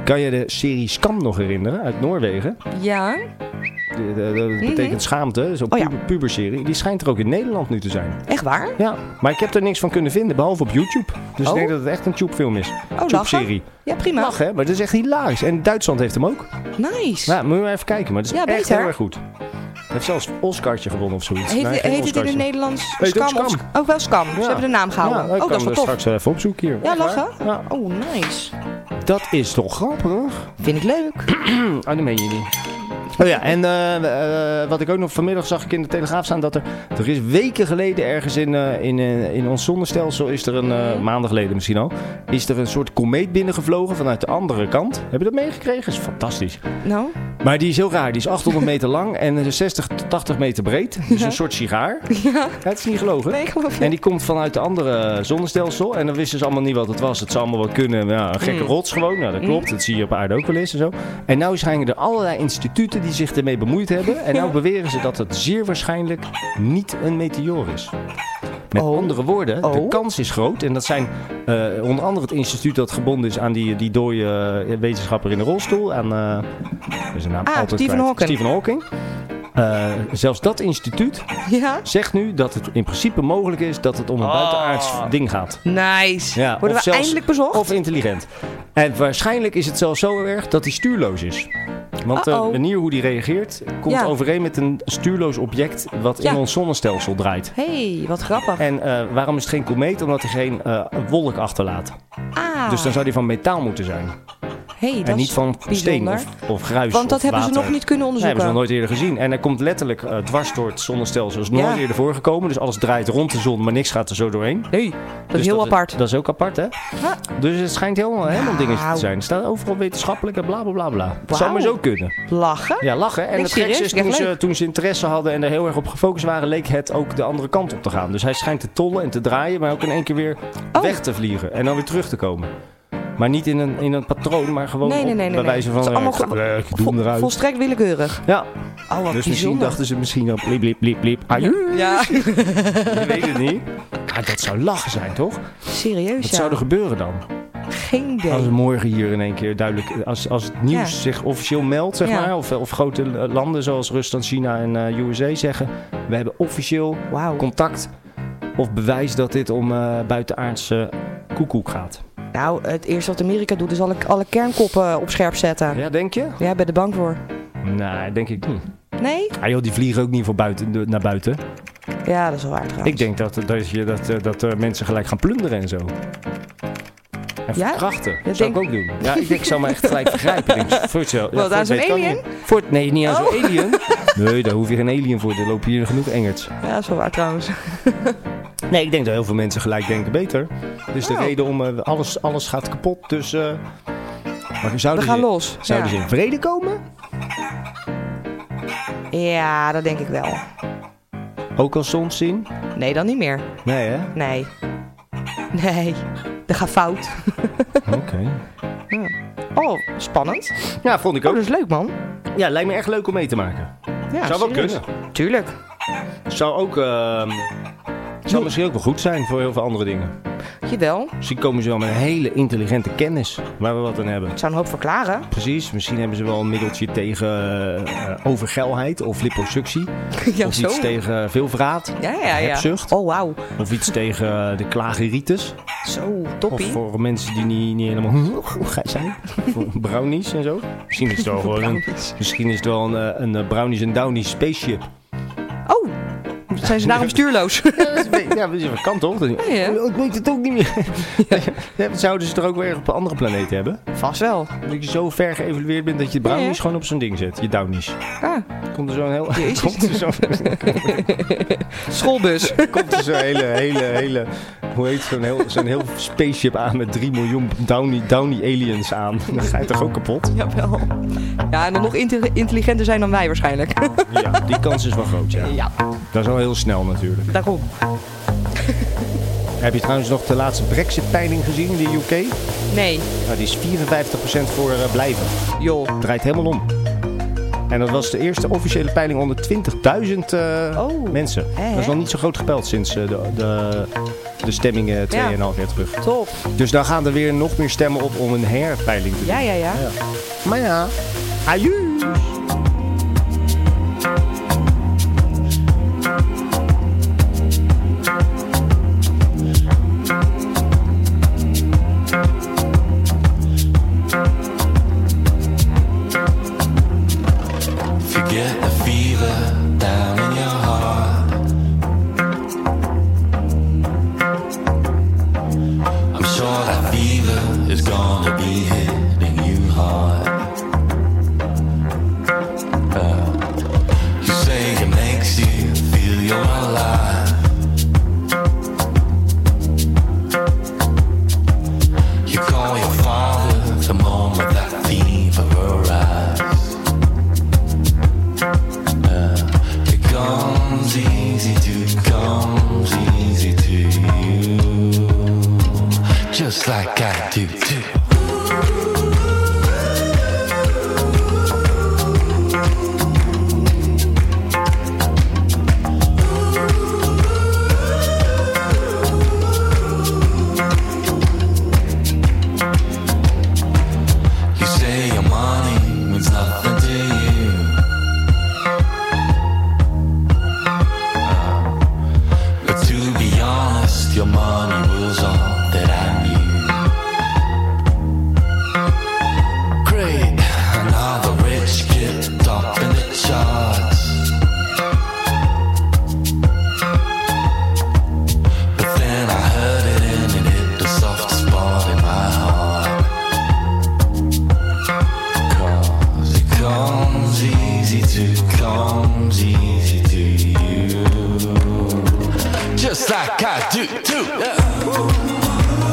D: Kan je de serie Skam nog herinneren uit Noorwegen?
E: Ja.
D: De- de- de- Dat
E: Mhm.
D: betekent schaamte, zo'n
E: Oh ja.
D: puber, puberserie. Die schijnt er ook in Nederland nu te zijn.
E: Echt waar?
D: Ja, maar ik heb er niks van kunnen vinden, behalve op YouTube. Dus
E: Oh.
D: ik denk dat het echt een tubefilm is.
E: lachen?
D: Tube-serie.
E: Oh, Ja, prima.
D: Lachen, hè? maar dat is echt hilarisch. En Duitsland heeft hem ook.
E: Nice.
D: Nou, moet je maar even kijken, maar dat is
E: Ja,
D: echt
E: beter.
D: heel erg goed. Hij heeft zelfs een Oscartje gewonnen of zoiets.
E: Heet,
D: Nee, geen
E: heet het in het
D: Oscartje.
E: Nederlands
D: Heet ook
E: of-
D: Skam.
E: Ook wel Skam. Ze
D: Ja.
E: hebben de naam gehouden.
D: Ja, ik
E: oh,
D: kan
E: dat is
D: hem
E: wel tof.
D: straks eh, even opzoeken hier.
E: Ja,
D: Echt waar?
E: lachen.
D: Ja.
E: Oh, nice.
D: Dat is toch grappig?
E: Vind ik leuk.
D: Oh, dat meen je niet. Oh ja, en eh, eh, wat ik ook nog vanmiddag zag ik in de Telegraaf staan dat er, er is weken geleden ergens in, eh, in, eh, in ons zonnestelsel is er een, eh, maanden geleden misschien al, is er een soort komeet binnengevlogen vanuit de andere kant. Heb je dat meegekregen? Is fantastisch.
E: Nou,
D: Maar die is heel raar, die is 800 meter lang en eh, 60 tot 80 meter breed. Dus een soort sigaar. Ja. Het is niet gelogen.
E: nee, ik geloof
D: En
E: niet.
D: die komt vanuit de andere zonnestelsel. En dan wisten ze allemaal niet wat het was. Het zou allemaal wel kunnen. Ja, een
E: Mm.
D: gekke rots gewoon. Nou, dat klopt. Dat zie je op aarde ook wel eens en zo. En nou schijnen er allerlei instituten die zich ermee bemoeid hebben. En nou beweren ze dat het zeer waarschijnlijk niet een meteoor is. Met
E: Oh.
D: andere woorden, de
E: Oh.
D: kans is groot. En dat zijn eh, onder andere het instituut dat gebonden is aan die, die dode eh, wetenschapper in de rolstoel. Aan, eh, wat is zijn naam
E: Ah,
D: altijd
E: Stephen
D: kwijt.
E: Hawking.
D: Stephen Hawking. Eh, zelfs dat instituut
E: Ja.
D: zegt nu dat het in principe mogelijk is dat het om een buitenaards ding gaat.
E: Nice.
D: Ja,
E: Worden
D: of
E: we
D: zelfs-
E: eindelijk bezocht?
D: Of intelligent. En waarschijnlijk is het zelfs zo erg dat hij stuurloos is. Want eh,
E: Uh-oh.
D: de manier hoe die reageert komt
E: Ja.
D: overeen met een stuurloos object wat
E: Ja.
D: in ons zonnestelsel draait.
E: Hé, hey, wat grappig.
D: En eh, waarom is het geen komeet? Omdat hij geen eh, wolk achterlaat.
E: ah,
D: Dus dan zou die van metaal moeten zijn.
E: hey, dat
D: en
E: is
D: niet van steen
E: bijzonder.
D: of, of gruis.
E: Want dat
D: of
E: hebben ze
D: water.
E: nog niet kunnen
D: Nee, hebben
E: onderzoeken.
D: ze nog nooit eerder gezien. En hij komt letterlijk eh, dwars door het zonnestelsel. Dat is nooit
E: Ja.
D: eerder voorgekomen. Dus alles draait rond de zon, maar niks gaat er zo doorheen.
E: Nee, dat is heel
D: Dus dat,
E: apart.
D: Dat is ook apart, hè? Dus het schijnt helemaal, helemaal dingetje te
E: Nou.
D: zijn. Het staat overal wetenschappelijk en bla bla bla bla. Het
E: Wauw.
D: zou maar zo kunnen.
E: Lachen?
D: Ja, lachen. En
E: Nee,
D: het gekste is,
E: serieus?
D: toen
E: Echt
D: ze,
E: leuk.
D: toen ze interesse hadden en er heel erg op gefocust waren, leek het ook de andere kant op te gaan. Dus hij schijnt te tollen en te draaien, maar ook in één keer weer
E: Oh.
D: weg te vliegen. En dan weer terug te komen. Maar niet in een, in een patroon, maar gewoon
E: Nee, nee,
D: op-
E: nee, nee,
D: bij
E: nee.
D: wijze
E: Het
D: van...
E: is
D: eh,
E: allemaal
D: ik ga- eh, ik doe
E: Vo-
D: hem eruit.
E: volstrekt willekeurig.
D: Ja,
E: Oh, wat
D: dus misschien
E: bijzonder.
D: dachten ze misschien al blip, blip, blip, blip. Ah,
E: Ja,
D: je weet het niet. Maar dat zou lachen zijn, toch?
E: serieus
D: Wat
E: ja.
D: zou er gebeuren dan?
E: Geen idee.
D: Als morgen hier in één keer duidelijk, eh, als, als het nieuws
E: Ja.
D: zich officieel meldt, zeg
E: Ja.
D: maar, of, of grote eh, landen zoals Rusland, China en eh, USA zeggen, we hebben officieel
E: Wauw.
D: contact of bewijs dat dit om eh buitenaardse koekoek gaat.
E: Nou, het eerste wat Amerika doet is alle, alle kernkoppen op scherp zetten. Ja,
D: Ja, denk je?
E: ben je er bang voor.
D: Nee, Nou, denk ik niet.
E: Nee?
D: Ah joh, die vliegen ook niet voor buiten, de- naar buiten.
E: Ja, dat is wel waar trouwens.
D: Ik denk dat, dat, je, dat, eh, dat eh, mensen gelijk gaan plunderen en zo. En
E: Ja?
D: verkrachten.
E: Dat
D: zou ik
E: denk-
D: ook doen. Ja, ik denk, ik zou me echt gelijk vergrijpen. Ik Denk, voor het zo,
E: Wat, aan zo'n alien? Oh.
D: Voor het, nee, niet aan zo'n alien. Nee, daar hoef je geen alien voor. Er lopen hier genoeg engerts.
E: Ja, dat is wel waar trouwens.
D: Nee, ik denk dat heel veel mensen gelijk denken beter. Dus
E: Oh.
D: de reden om... eh, alles, alles gaat kapot, dus... eh, maar
E: We
D: zouden
E: gaan
D: ze,
E: los.
D: Zouden
E: ja.
D: ze in vrede komen?
E: ja, dat denk ik wel.
D: Ook al soms zien?
E: Nee, dan niet meer.
D: Nee, hè?
E: Nee. Nee. Dat gaat fout.
D: Oké.
E: Oh, spannend.
D: Ja, vond ik
E: Oh, dat
D: ook.
E: is leuk man.
D: Ja, lijkt me echt leuk om mee te maken.
E: Ja,
D: Zou wel
E: Ah, serieus.
D: kunnen.
E: Tuurlijk.
D: Zou ook... ehm, zou misschien ook wel goed zijn voor heel veel andere dingen.
E: Jawel.
D: Misschien komen ze wel met een hele intelligente kennis waar we wat aan hebben.
E: Ik zou een hoop verklaren.
D: Precies, misschien hebben ze wel een middeltje tegen eh, overgeilheid of liposuctie.
E: Ja,
D: of
E: zo.
D: iets tegen veelverraad.
E: Ja, ja, ja.
D: Hebzucht.
E: Oh, wauw.
D: Of iets tegen eh, de klageritis.
E: Zo,
D: Of
E: toppie.
D: voor mensen die niet, niet helemaal zijn. Voor brownies en zo. Misschien is het wel, gewoon een, misschien is het wel een, eh, een eh, brownies en downies spaceship.
E: Oh, zijn ze daarom stuurloos?
D: Ja, dat is wel kan toch? Dat-
E: ja.
D: Oh, Ik weet het ook niet meer. Ja, dat Zouden ze er ook weer op een andere planeet hebben?
E: Vast wel.
D: Dat je zo ver geëvalueerd bent dat je brownies
E: Ja, ja.
D: gewoon op zo'n ding zet. Je downies.
E: Ah,
D: Komt er zo'n heel...
E: Jezus.
D: Komt er zo'n
E: schoolbus.
D: komt er zo'n hele, hele, hele... Hoe heet het? zo'n heel, zo'n heel spaceship aan met 3 miljoen downy, downy aliens aan? Dan ga je toch ook kapot?
E: Jawel. Ja, en dan nog inte- intelligenter zijn dan wij waarschijnlijk.
D: Ja, die kans is wel groot, ja.
E: Ja,
D: Dat is al heel snel natuurlijk.
E: daarom.
D: Heb je trouwens nog de laatste Brexit-peiling gezien in de UK?
E: Nee,
D: Nou, die is 54% voor eh, blijven.
E: joh.
D: Het draait helemaal om. En dat was de eerste officiële peiling onder 20.000 eh,
E: Oh.
D: mensen.
E: Hè,
D: Dat is
E: hè?
D: nog niet zo groot gepeld sinds eh, de, de, de stemming eh, 2,5 jaar terug.
E: Top.
D: Dus dan gaan er weer nog meer stemmen op om een herpeiling te doen.
E: Ja, ja, ja.
D: Maar ja, aju!
G: Forget the fever down in your heart. I'm sure that fever is gonna be hitting you hard. Uh, you say it makes you feel you're alive. You call your father the moment that fever arrives. It comes easy to, comes easy to you, just like I do too. You say your money means nothing to you. But to be honest, your money was all that I knew. Great, another rich kid up in the charts. But then I heard it and it hit the soft spot in my heart. 'Cause it comes easy to, comes easy to you just like I do too. Yeah.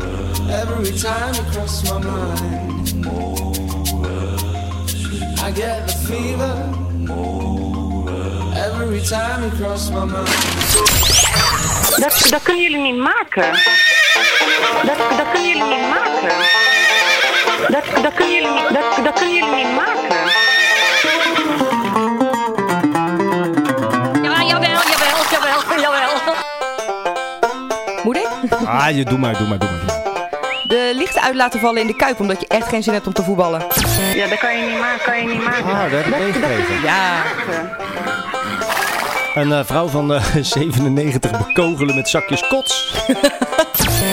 K: time across my mind. I get the fever every time you cross my mind.
L: Dat, dat kunnen jullie niet maken. Dat, dat kunnen jullie niet maken. Dat, dat kunnen jullie niet, dat, dat kunnen jullie niet maken.
M: Jawel, jawel, jawel, jawel, jawel.
E: Moet ik?
D: Ah, je, doe maar, doe maar, doe maar. doe maar.
E: De lichten uit laten vallen in de kuip omdat je echt geen zin hebt om te voetballen.
L: Ja, dat kan je niet maken, kan je niet maken.
D: Ah, dat heb ik meegekregen.
E: Ja.
D: Een eh, vrouw van eh, 97 bekogelen met zakjes kots.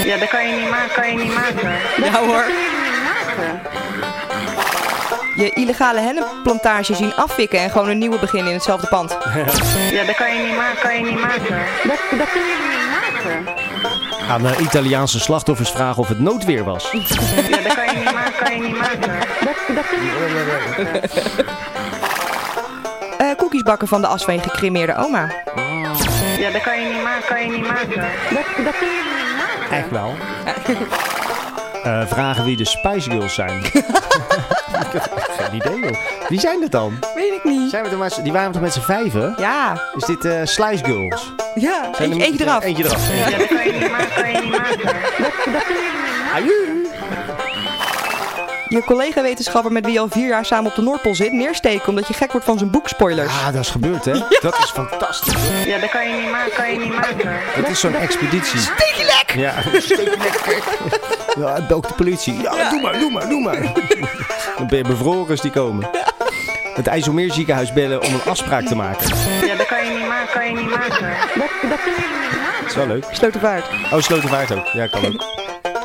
L: Ja, dat kan je niet maken, kan je niet maken. Dat-
E: Ja, hoor.
L: Dat kunnen jullie niet maken.
E: Je illegale hennepplantage zien afwikken en gewoon een nieuwe beginnen in hetzelfde pand.
L: Ja, dat kan je niet maken, kan je niet maken. Dat, dat kunnen jullie niet maken.
D: Aan eh, Italiaanse slachtoffers vragen of het noodweer was.
L: Ja, dat kan je niet maken, kan je niet maken. Dat, dat kunnen jullie niet maken.
E: Eh koekjes bakken van de as van je gecremeerde oma.
L: Ja, dat kan je niet maken, kan je niet maken. Dat, dat kunnen jullie niet maken.
D: Echt wel. Eh, vragen wie de Spice Girls zijn. ik heb geen idee, joh. Wie zijn dat dan?
E: Weet ik niet.
D: Zijn we er maar, die waren toch met z'n vijven?
E: Ja.
D: Is dit eh Slice Girls?
E: Ja,
D: Zijn
E: eentje,
D: er-
E: eentje eraf.
D: Eentje eraf.
L: Ja, dat kan je niet maken, kan je niet maken. Dat, dat kunnen jullie niet maken.
D: Aju.
E: Je collega-wetenschapper met wie je al vier jaar samen op de Noordpool zit, neersteken omdat je gek wordt van zijn boekspoilers.
D: Ah, dat is gebeurd, hè? Dat is fantastisch.
L: Ja, dat kan je niet maken, kan je niet maken.
D: Dat is zo'n expeditie.
E: Steek je lek!
D: Ja, ja ook de politie. Ja, doe maar, doe maar, doe maar. Dan ben je bevroren als die komen. Het IJsselmeerziekenhuis bellen om een afspraak te maken.
L: Ja, dat kan je niet maken, kan je niet maken. Dat, dat kunnen jullie niet maken.
D: Dat is wel leuk.
E: Slotervaart.
D: Oh, Slotervaart ook. Ja, kan ook.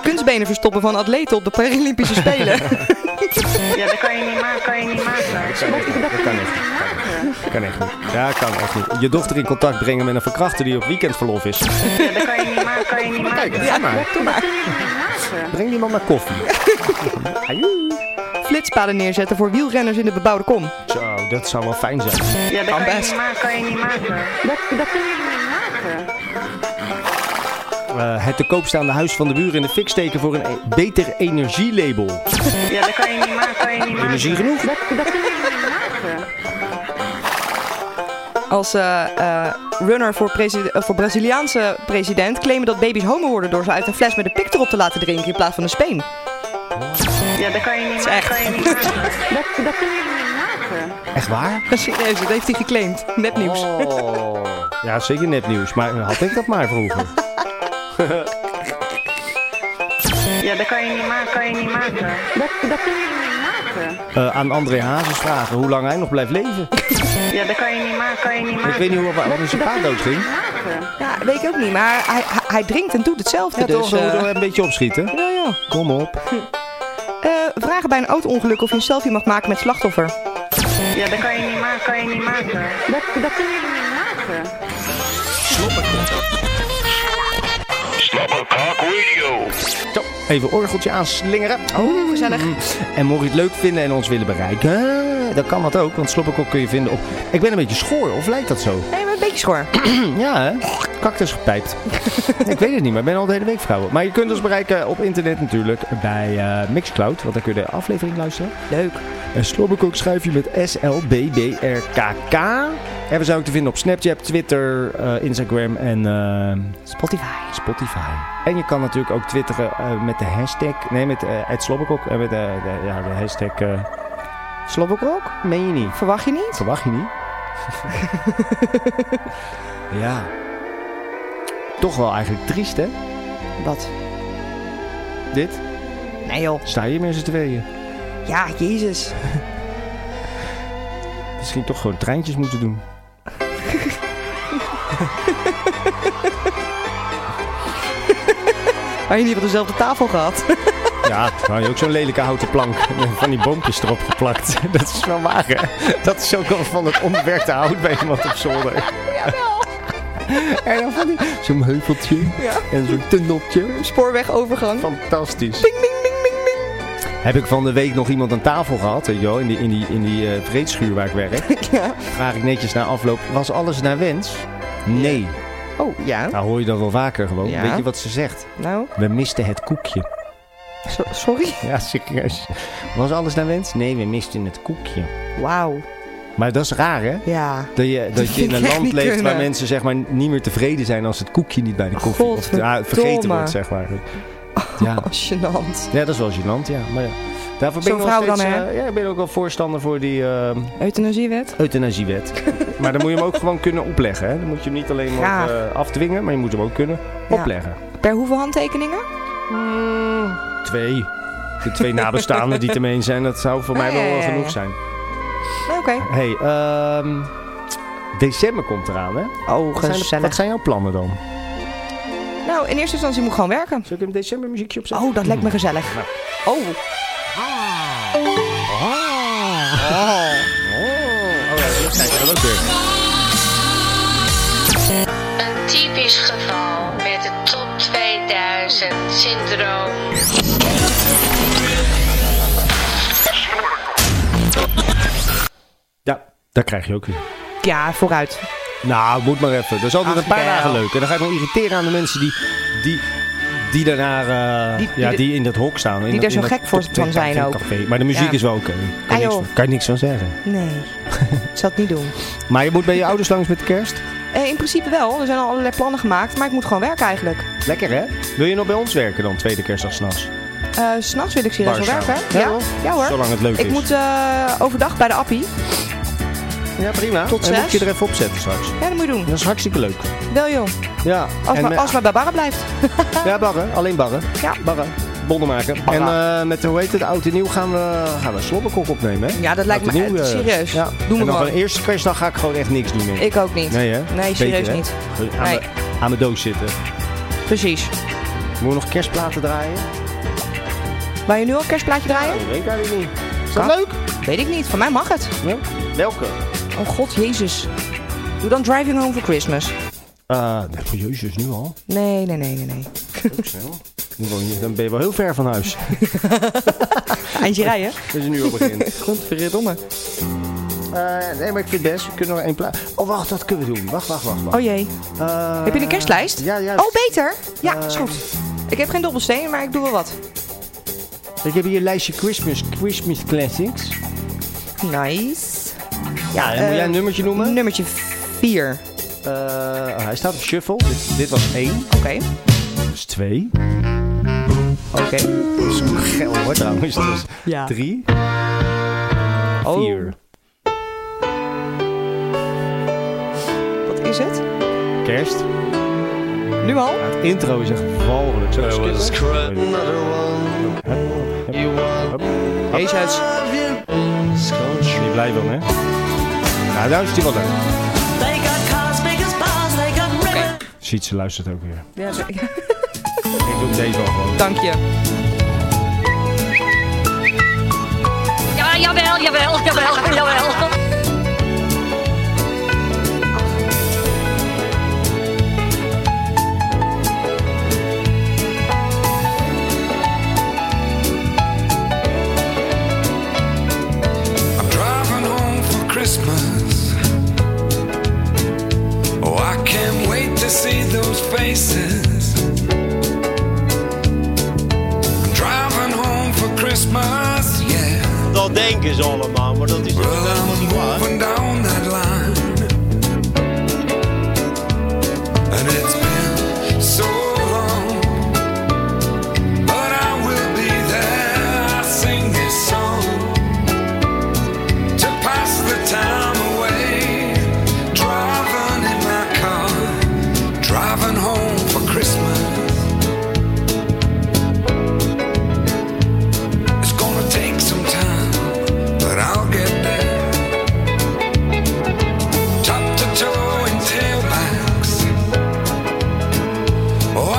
E: Kunstbenen verstoppen van atleten op de Paralympische Spelen.
L: Ja, dat kan je niet maken, kan je niet maken.
D: Dat kan echt niet. Dat kan echt niet. Dat kan echt niet. Ja, kan echt niet. Je dochter in contact brengen met een verkrachter die op weekendverlof is.
L: Ja, dat kan je niet maken, kan je niet maken.
D: doe maar.
L: Dat kunnen jullie niet maken.
D: Breng die man naar koffie.
E: Flitspaden neerzetten voor wielrenners in de bebouwde kom.
D: Zo, dat zou wel fijn zijn.
L: Ja, dat
E: Kan
L: kan je
E: best.
L: niet maken, kan je niet maken. Dat, dat kunnen jullie niet maken.
D: Eh, het te koop staande huis van de buren in de fik steken voor een e- beter energielabel.
L: Ja, dat kan je niet maken, kan je niet maken.
D: Energie genoeg?
L: Dat, dat kunnen jullie niet maken.
E: Als eh, eh, runner voor, presi- eh, voor Braziliaanse president claimen dat baby's homo worden door ze uit een fles met een pik erop te laten drinken in plaats van een speen.
L: Ja, dat kan je niet maken, kan je niet maken. Dat, dat kunnen jullie niet maken.
D: Echt waar?
E: Serieus, dus dat heeft hij geclaimd. Net nieuws.
D: Oh. Ja, zeker nepnieuws. Maar eh, had ik dat maar vroeger.
L: Ja, dat kan je niet maken, kan je niet maken. Dat, dat kunnen jullie niet maken.
D: Eh, aan André Hazes vragen hoe lang hij nog blijft leven.
L: Ja, dat kan je niet maken, kan je niet maken.
D: Ik weet niet hoe, wat in zijn pa dood ging.
E: Ja, weet ik ook niet, maar hij, hij, hij drinkt en doet hetzelfde.
D: Ja,
E: dus,
D: toch?
E: eh,
D: Een beetje opschieten.
E: ja, ja.
D: Kom op.
E: Eh, vragen bij een auto-ongeluk of je een selfie mag maken met slachtoffer.
L: Ja, dat kan je niet maken, kan je niet maken. Dat, dat kunnen jullie niet maken.
B: Slobberkok Radio.
D: Zo, even orgeltje aanslingeren. Oh,
E: gezellig.
D: En mocht je het leuk vinden en ons willen bereiken, dan kan dat ook. Want Sloppenkok kun je vinden op... Ik ben een beetje schoor, of lijkt dat zo?
E: Nee, maar een beetje schor.
D: ja, hè? Cactus gepijpt. ik weet het niet, maar ik ben al de hele week vrouwen. Maar je kunt ons bereiken op internet natuurlijk bij eh, Mixcloud. Want daar kun je de aflevering luisteren.
E: Leuk.
D: En Slobberkok schrijf je met S-L-B-B-R-K-K. En we zijn ook te vinden op Snapchat, Twitter, eh, Instagram en... eh,
E: Spotify.
D: Spotify. En je kan natuurlijk ook twitteren eh, met de hashtag. Nee, met eh het Slobberkok. En met de, de- ja, de hashtag. eh Slobberkok? Meen je niet?
E: Verwacht je niet?
D: Verwacht je niet? ja. Toch wel eigenlijk triest, hè?
E: Wat?
D: Dit.
E: Nee joh.
D: Sta je met z'n tweeën?
E: Ja, jezus.
D: Misschien toch gewoon treintjes moeten doen.
E: Had je niet op dezelfde tafel gehad?
D: Ja, dan had je ook zo'n lelijke houten plank met van die boompjes erop geplakt. Dat is wel waar, hè? Dat is ook wel van het onbewerkte hout bij iemand op zolder. En dan van die... Zo'n heuveltje
E: Ja.
D: en zo'n tunneltje.
E: Spoorwegovergang.
D: Fantastisch.
E: Ding, ding, ding, ding, ding.
D: Heb ik van de week nog iemand aan tafel gehad, weet je wel, in die, in die, in die eh, vreedschuur waar ik werk.
E: Ja.
D: Vraag ik netjes na afloop, was alles naar wens? Nee.
E: Oh, ja.
D: Nou hoor je dat wel vaker gewoon.
E: Ja.
D: Weet je wat ze zegt?
E: Nou.
D: We misten het koekje.
E: So- sorry?
D: Ja, serieus. Was alles naar wens? Nee, we misten het koekje.
E: Wauw.
D: Maar dat is raar, hè?
E: Ja.
D: Dat je,
E: Dat
D: dat je in
E: vind
D: een
E: ik echt
D: land
E: niet
D: leeft waar
E: kunnen.
D: mensen zeg maar, niet meer tevreden zijn als het koekje niet bij de koffie of ja, vergeten
E: Godverdomme.
D: wordt, zeg maar. Ja.
E: Gênant.
D: ja, dat is wel gênant, ja. Maar ja. Daarvoor ben ik
E: Oh. Zo'n
D: nog
E: vrouw dan,
D: steeds,
E: hè?
D: eh, ja, ik ben ook wel voorstander voor die ehm
E: Euthanasiewet?
D: euthanasiewet. maar dan moet je hem ook gewoon kunnen opleggen. Hè? Dan moet je hem niet alleen maar
E: Graag.
D: eh, afdwingen, maar je moet hem ook kunnen
E: Ja.
D: opleggen.
E: Per hoeveel handtekeningen?
D: Twee. De twee nabestaanden die het ermee eens zijn, dat zou voor
E: Ja,
D: mij wel
E: ja,
D: eh,
E: ja,
D: genoeg
E: ja.
D: zijn.
E: Nee, Nou, Oké.
D: hey, ehm, december komt eraan, hè?
E: Oh,
D: wat zijn, de-
E: gezellig.
D: wat zijn jouw plannen dan?
E: Nou, in eerste instantie moet ik gewoon werken.
D: Zul ik in december muziekje opzetten?
E: Oh, dat lijkt me gezellig. Oh.
D: Oh, ja, dat zijn we ook weer.
N: Een typisch geval met het top 2000 syndroom.
D: Ja, daar krijg je ook weer.
E: Ja, vooruit.
D: Nou, moet maar even. Dat is altijd
E: Ach,
D: een paar
E: Mikael.
D: dagen leuk. En dan ga ik me irriteren aan de mensen die, die, die daarna eh,
E: Die- die
D: ja,
E: de-
D: die in dat hok staan. in
E: die
D: dat-
E: er zo
D: in dat
E: gek voor
D: top
E: van zijn
D: 2000
E: ook.
D: café. Maar de muziek
E: Ja.
D: is wel oké.
E: Ah,
D: Kan, niks
E: joh.
D: van- kan je niks van zeggen.
E: Nee. ik zal het niet doen.
D: Maar je moet bij je ouders langs met de kerst.
E: Eh, in principe wel. Er zijn al allerlei plannen gemaakt, maar ik moet gewoon werken eigenlijk.
D: Lekker hè? Wil je nog bij ons werken dan, tweede kerstdag s'nachts?
E: Eh, S'nachts wil ik serieus wel
D: Barzaal.
E: werken.
D: Ja,
E: Ja,
D: hoor.
E: ja? hoor.
D: Zolang het leuk
E: ik
D: is.
E: moet eh, overdag bij de appie.
D: Ja, prima.
E: Tot
D: en
E: zes.
D: moet je er even opzetten straks.
E: Ja, dat moet je doen.
D: Dat is hartstikke leuk.
E: Wel joh.
D: Ja.
E: Als,
D: en,
E: maar,
D: eh,
E: als maar bij Barra blijft.
D: Ja, barren. Alleen barren.
E: Ja.
D: Barren. Bonnen maken. En eh, met, hoe heet het, oud en nieuw gaan we, gaan we slobberkok opnemen, hè?
E: Ja, dat lijkt
D: Oud
E: me
D: en nieuw,
E: echt
D: eh,
E: serieus.
D: Ja.
E: Doen we
D: en dan
E: gewoon.
D: van de eerste kerstdag ga ik gewoon echt niks doen. meer.
E: Ik ook niet.
D: Nee, hè?
E: Nee, serieus
D: Beter, hè?
E: niet.
D: Gewoon Aan,
E: Nee.
D: de, aan de doos zitten.
E: Precies.
D: Moeten we nog kerstplaten draaien?
E: Wil je nu al een kerstplaatje draaien?
D: Oh, Dat weet ik eigenlijk niet. Is dat
E: Kan.
D: leuk?
E: Weet ik niet. Van mij mag het.
D: Welke?
E: Oh god, jezus. Doe dan Driving Home for Christmas.
D: Eh, nee, voor jezus, nu al.
E: Nee, nee, nee, nee, nee.
D: Ook snel. Dan woon je- Dan ben je wel heel ver van huis.
E: Eindje rijden.
D: Als je nu al begint.
E: Oh, Godverdomme.
D: Eh, nee, maar ik vind het best. We kunnen nog één plaat. Oh, wacht, dat kunnen we doen. Wacht, wacht, wacht. wacht.
E: Oh jee.
D: Eh,
E: heb je een kerstlijst?
D: Ja, ja. Eh,
E: Oh, beter. Ja, is goed. Ik heb geen dobbelsteen, maar ik doe wel wat.
D: Ik heb hier een lijstje Christmas, Christmas Classics.
E: Nice.
D: Ja, en moet
E: eh,
D: jij een nummertje noemen?
E: Nummertje 4.
D: Eh, hij staat op shuffle. Dit, dit was één.
E: Oké.
D: Dat is twee.
E: Oké.
D: Dat is ook geil hoor trouwens. Dat is
E: Ja.
D: drie.
E: Oh.
D: Vier.
E: Wat is het?
D: Kerst.
E: Nu al?
D: Het intro is echt walgelijk. Zo
E: Deze huis.
D: Je blij dan, hè? Nou, daar is die wel leuk.
M: They got cars big as bars, they got ribbons.
D: Ziet ze luistert ook weer.
E: Ja, zo- ja.
D: Ik doe deze wel gewoon.
E: Dank je.
M: Ja, jawel, jawel, jawel, jawel.
K: I'm driving home for Christmas. Oh, I can't wait to see those faces. I'm driving home for Christmas, yeah.
O: Dat denken ze allemaal, maar dat is niet
K: Well, I'm moving down that line. And it's been so long. But I will be there. I sing this song to pass the time away. Driving in my car, driving home for Christmas. It's gonna take some time, but I'll get there. Oh,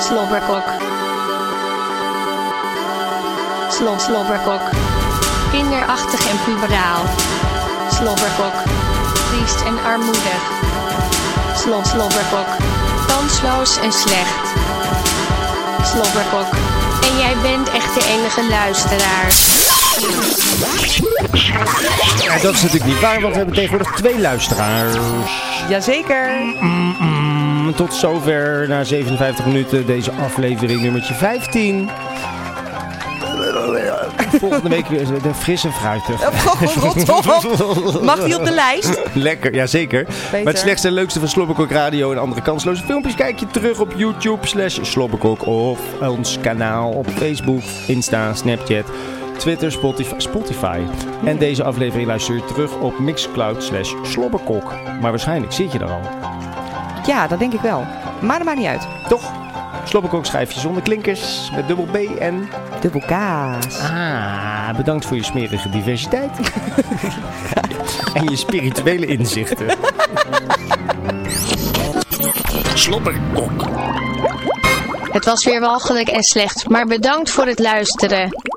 F: Slobberkok. Slob, slobberkok. Kinderachtig en puberaal. Slobberkok. Triest en armoedig. Slob, slobberkok. Kansloos en slecht. Slobberkok. En jij bent echt de enige luisteraar.
D: Ja, dat is natuurlijk niet waar, want we hebben tegenwoordig twee luisteraars.
E: Jazeker.
D: Mm, tot zover na 57 minuten deze aflevering nummertje 15. Volgende week weer de frisse fruitig.
E: Mag die Oh, op de lijst?
D: Lekker, jazeker. Maar het slechtste en leukste van Slobberkok Radio en andere kansloze filmpjes kijk je terug op YouTube slash Slobberkok of ons kanaal op Facebook, Insta, Snapchat, Twitter, Spotify. Spotify. En deze aflevering luister je terug op Mixcloud slash Slobberkok. Maar waarschijnlijk zit je er al.
E: Ja, dat denk ik wel. Maar dat maakt niet uit.
D: Toch? Slobberkok schrijf je zonder klinkers met dubbel B en...
E: Dubbel K's.
D: Ah, bedankt voor je smerige diversiteit. en je spirituele inzichten.
F: Het was weer walgelijk en slecht, maar bedankt voor het luisteren.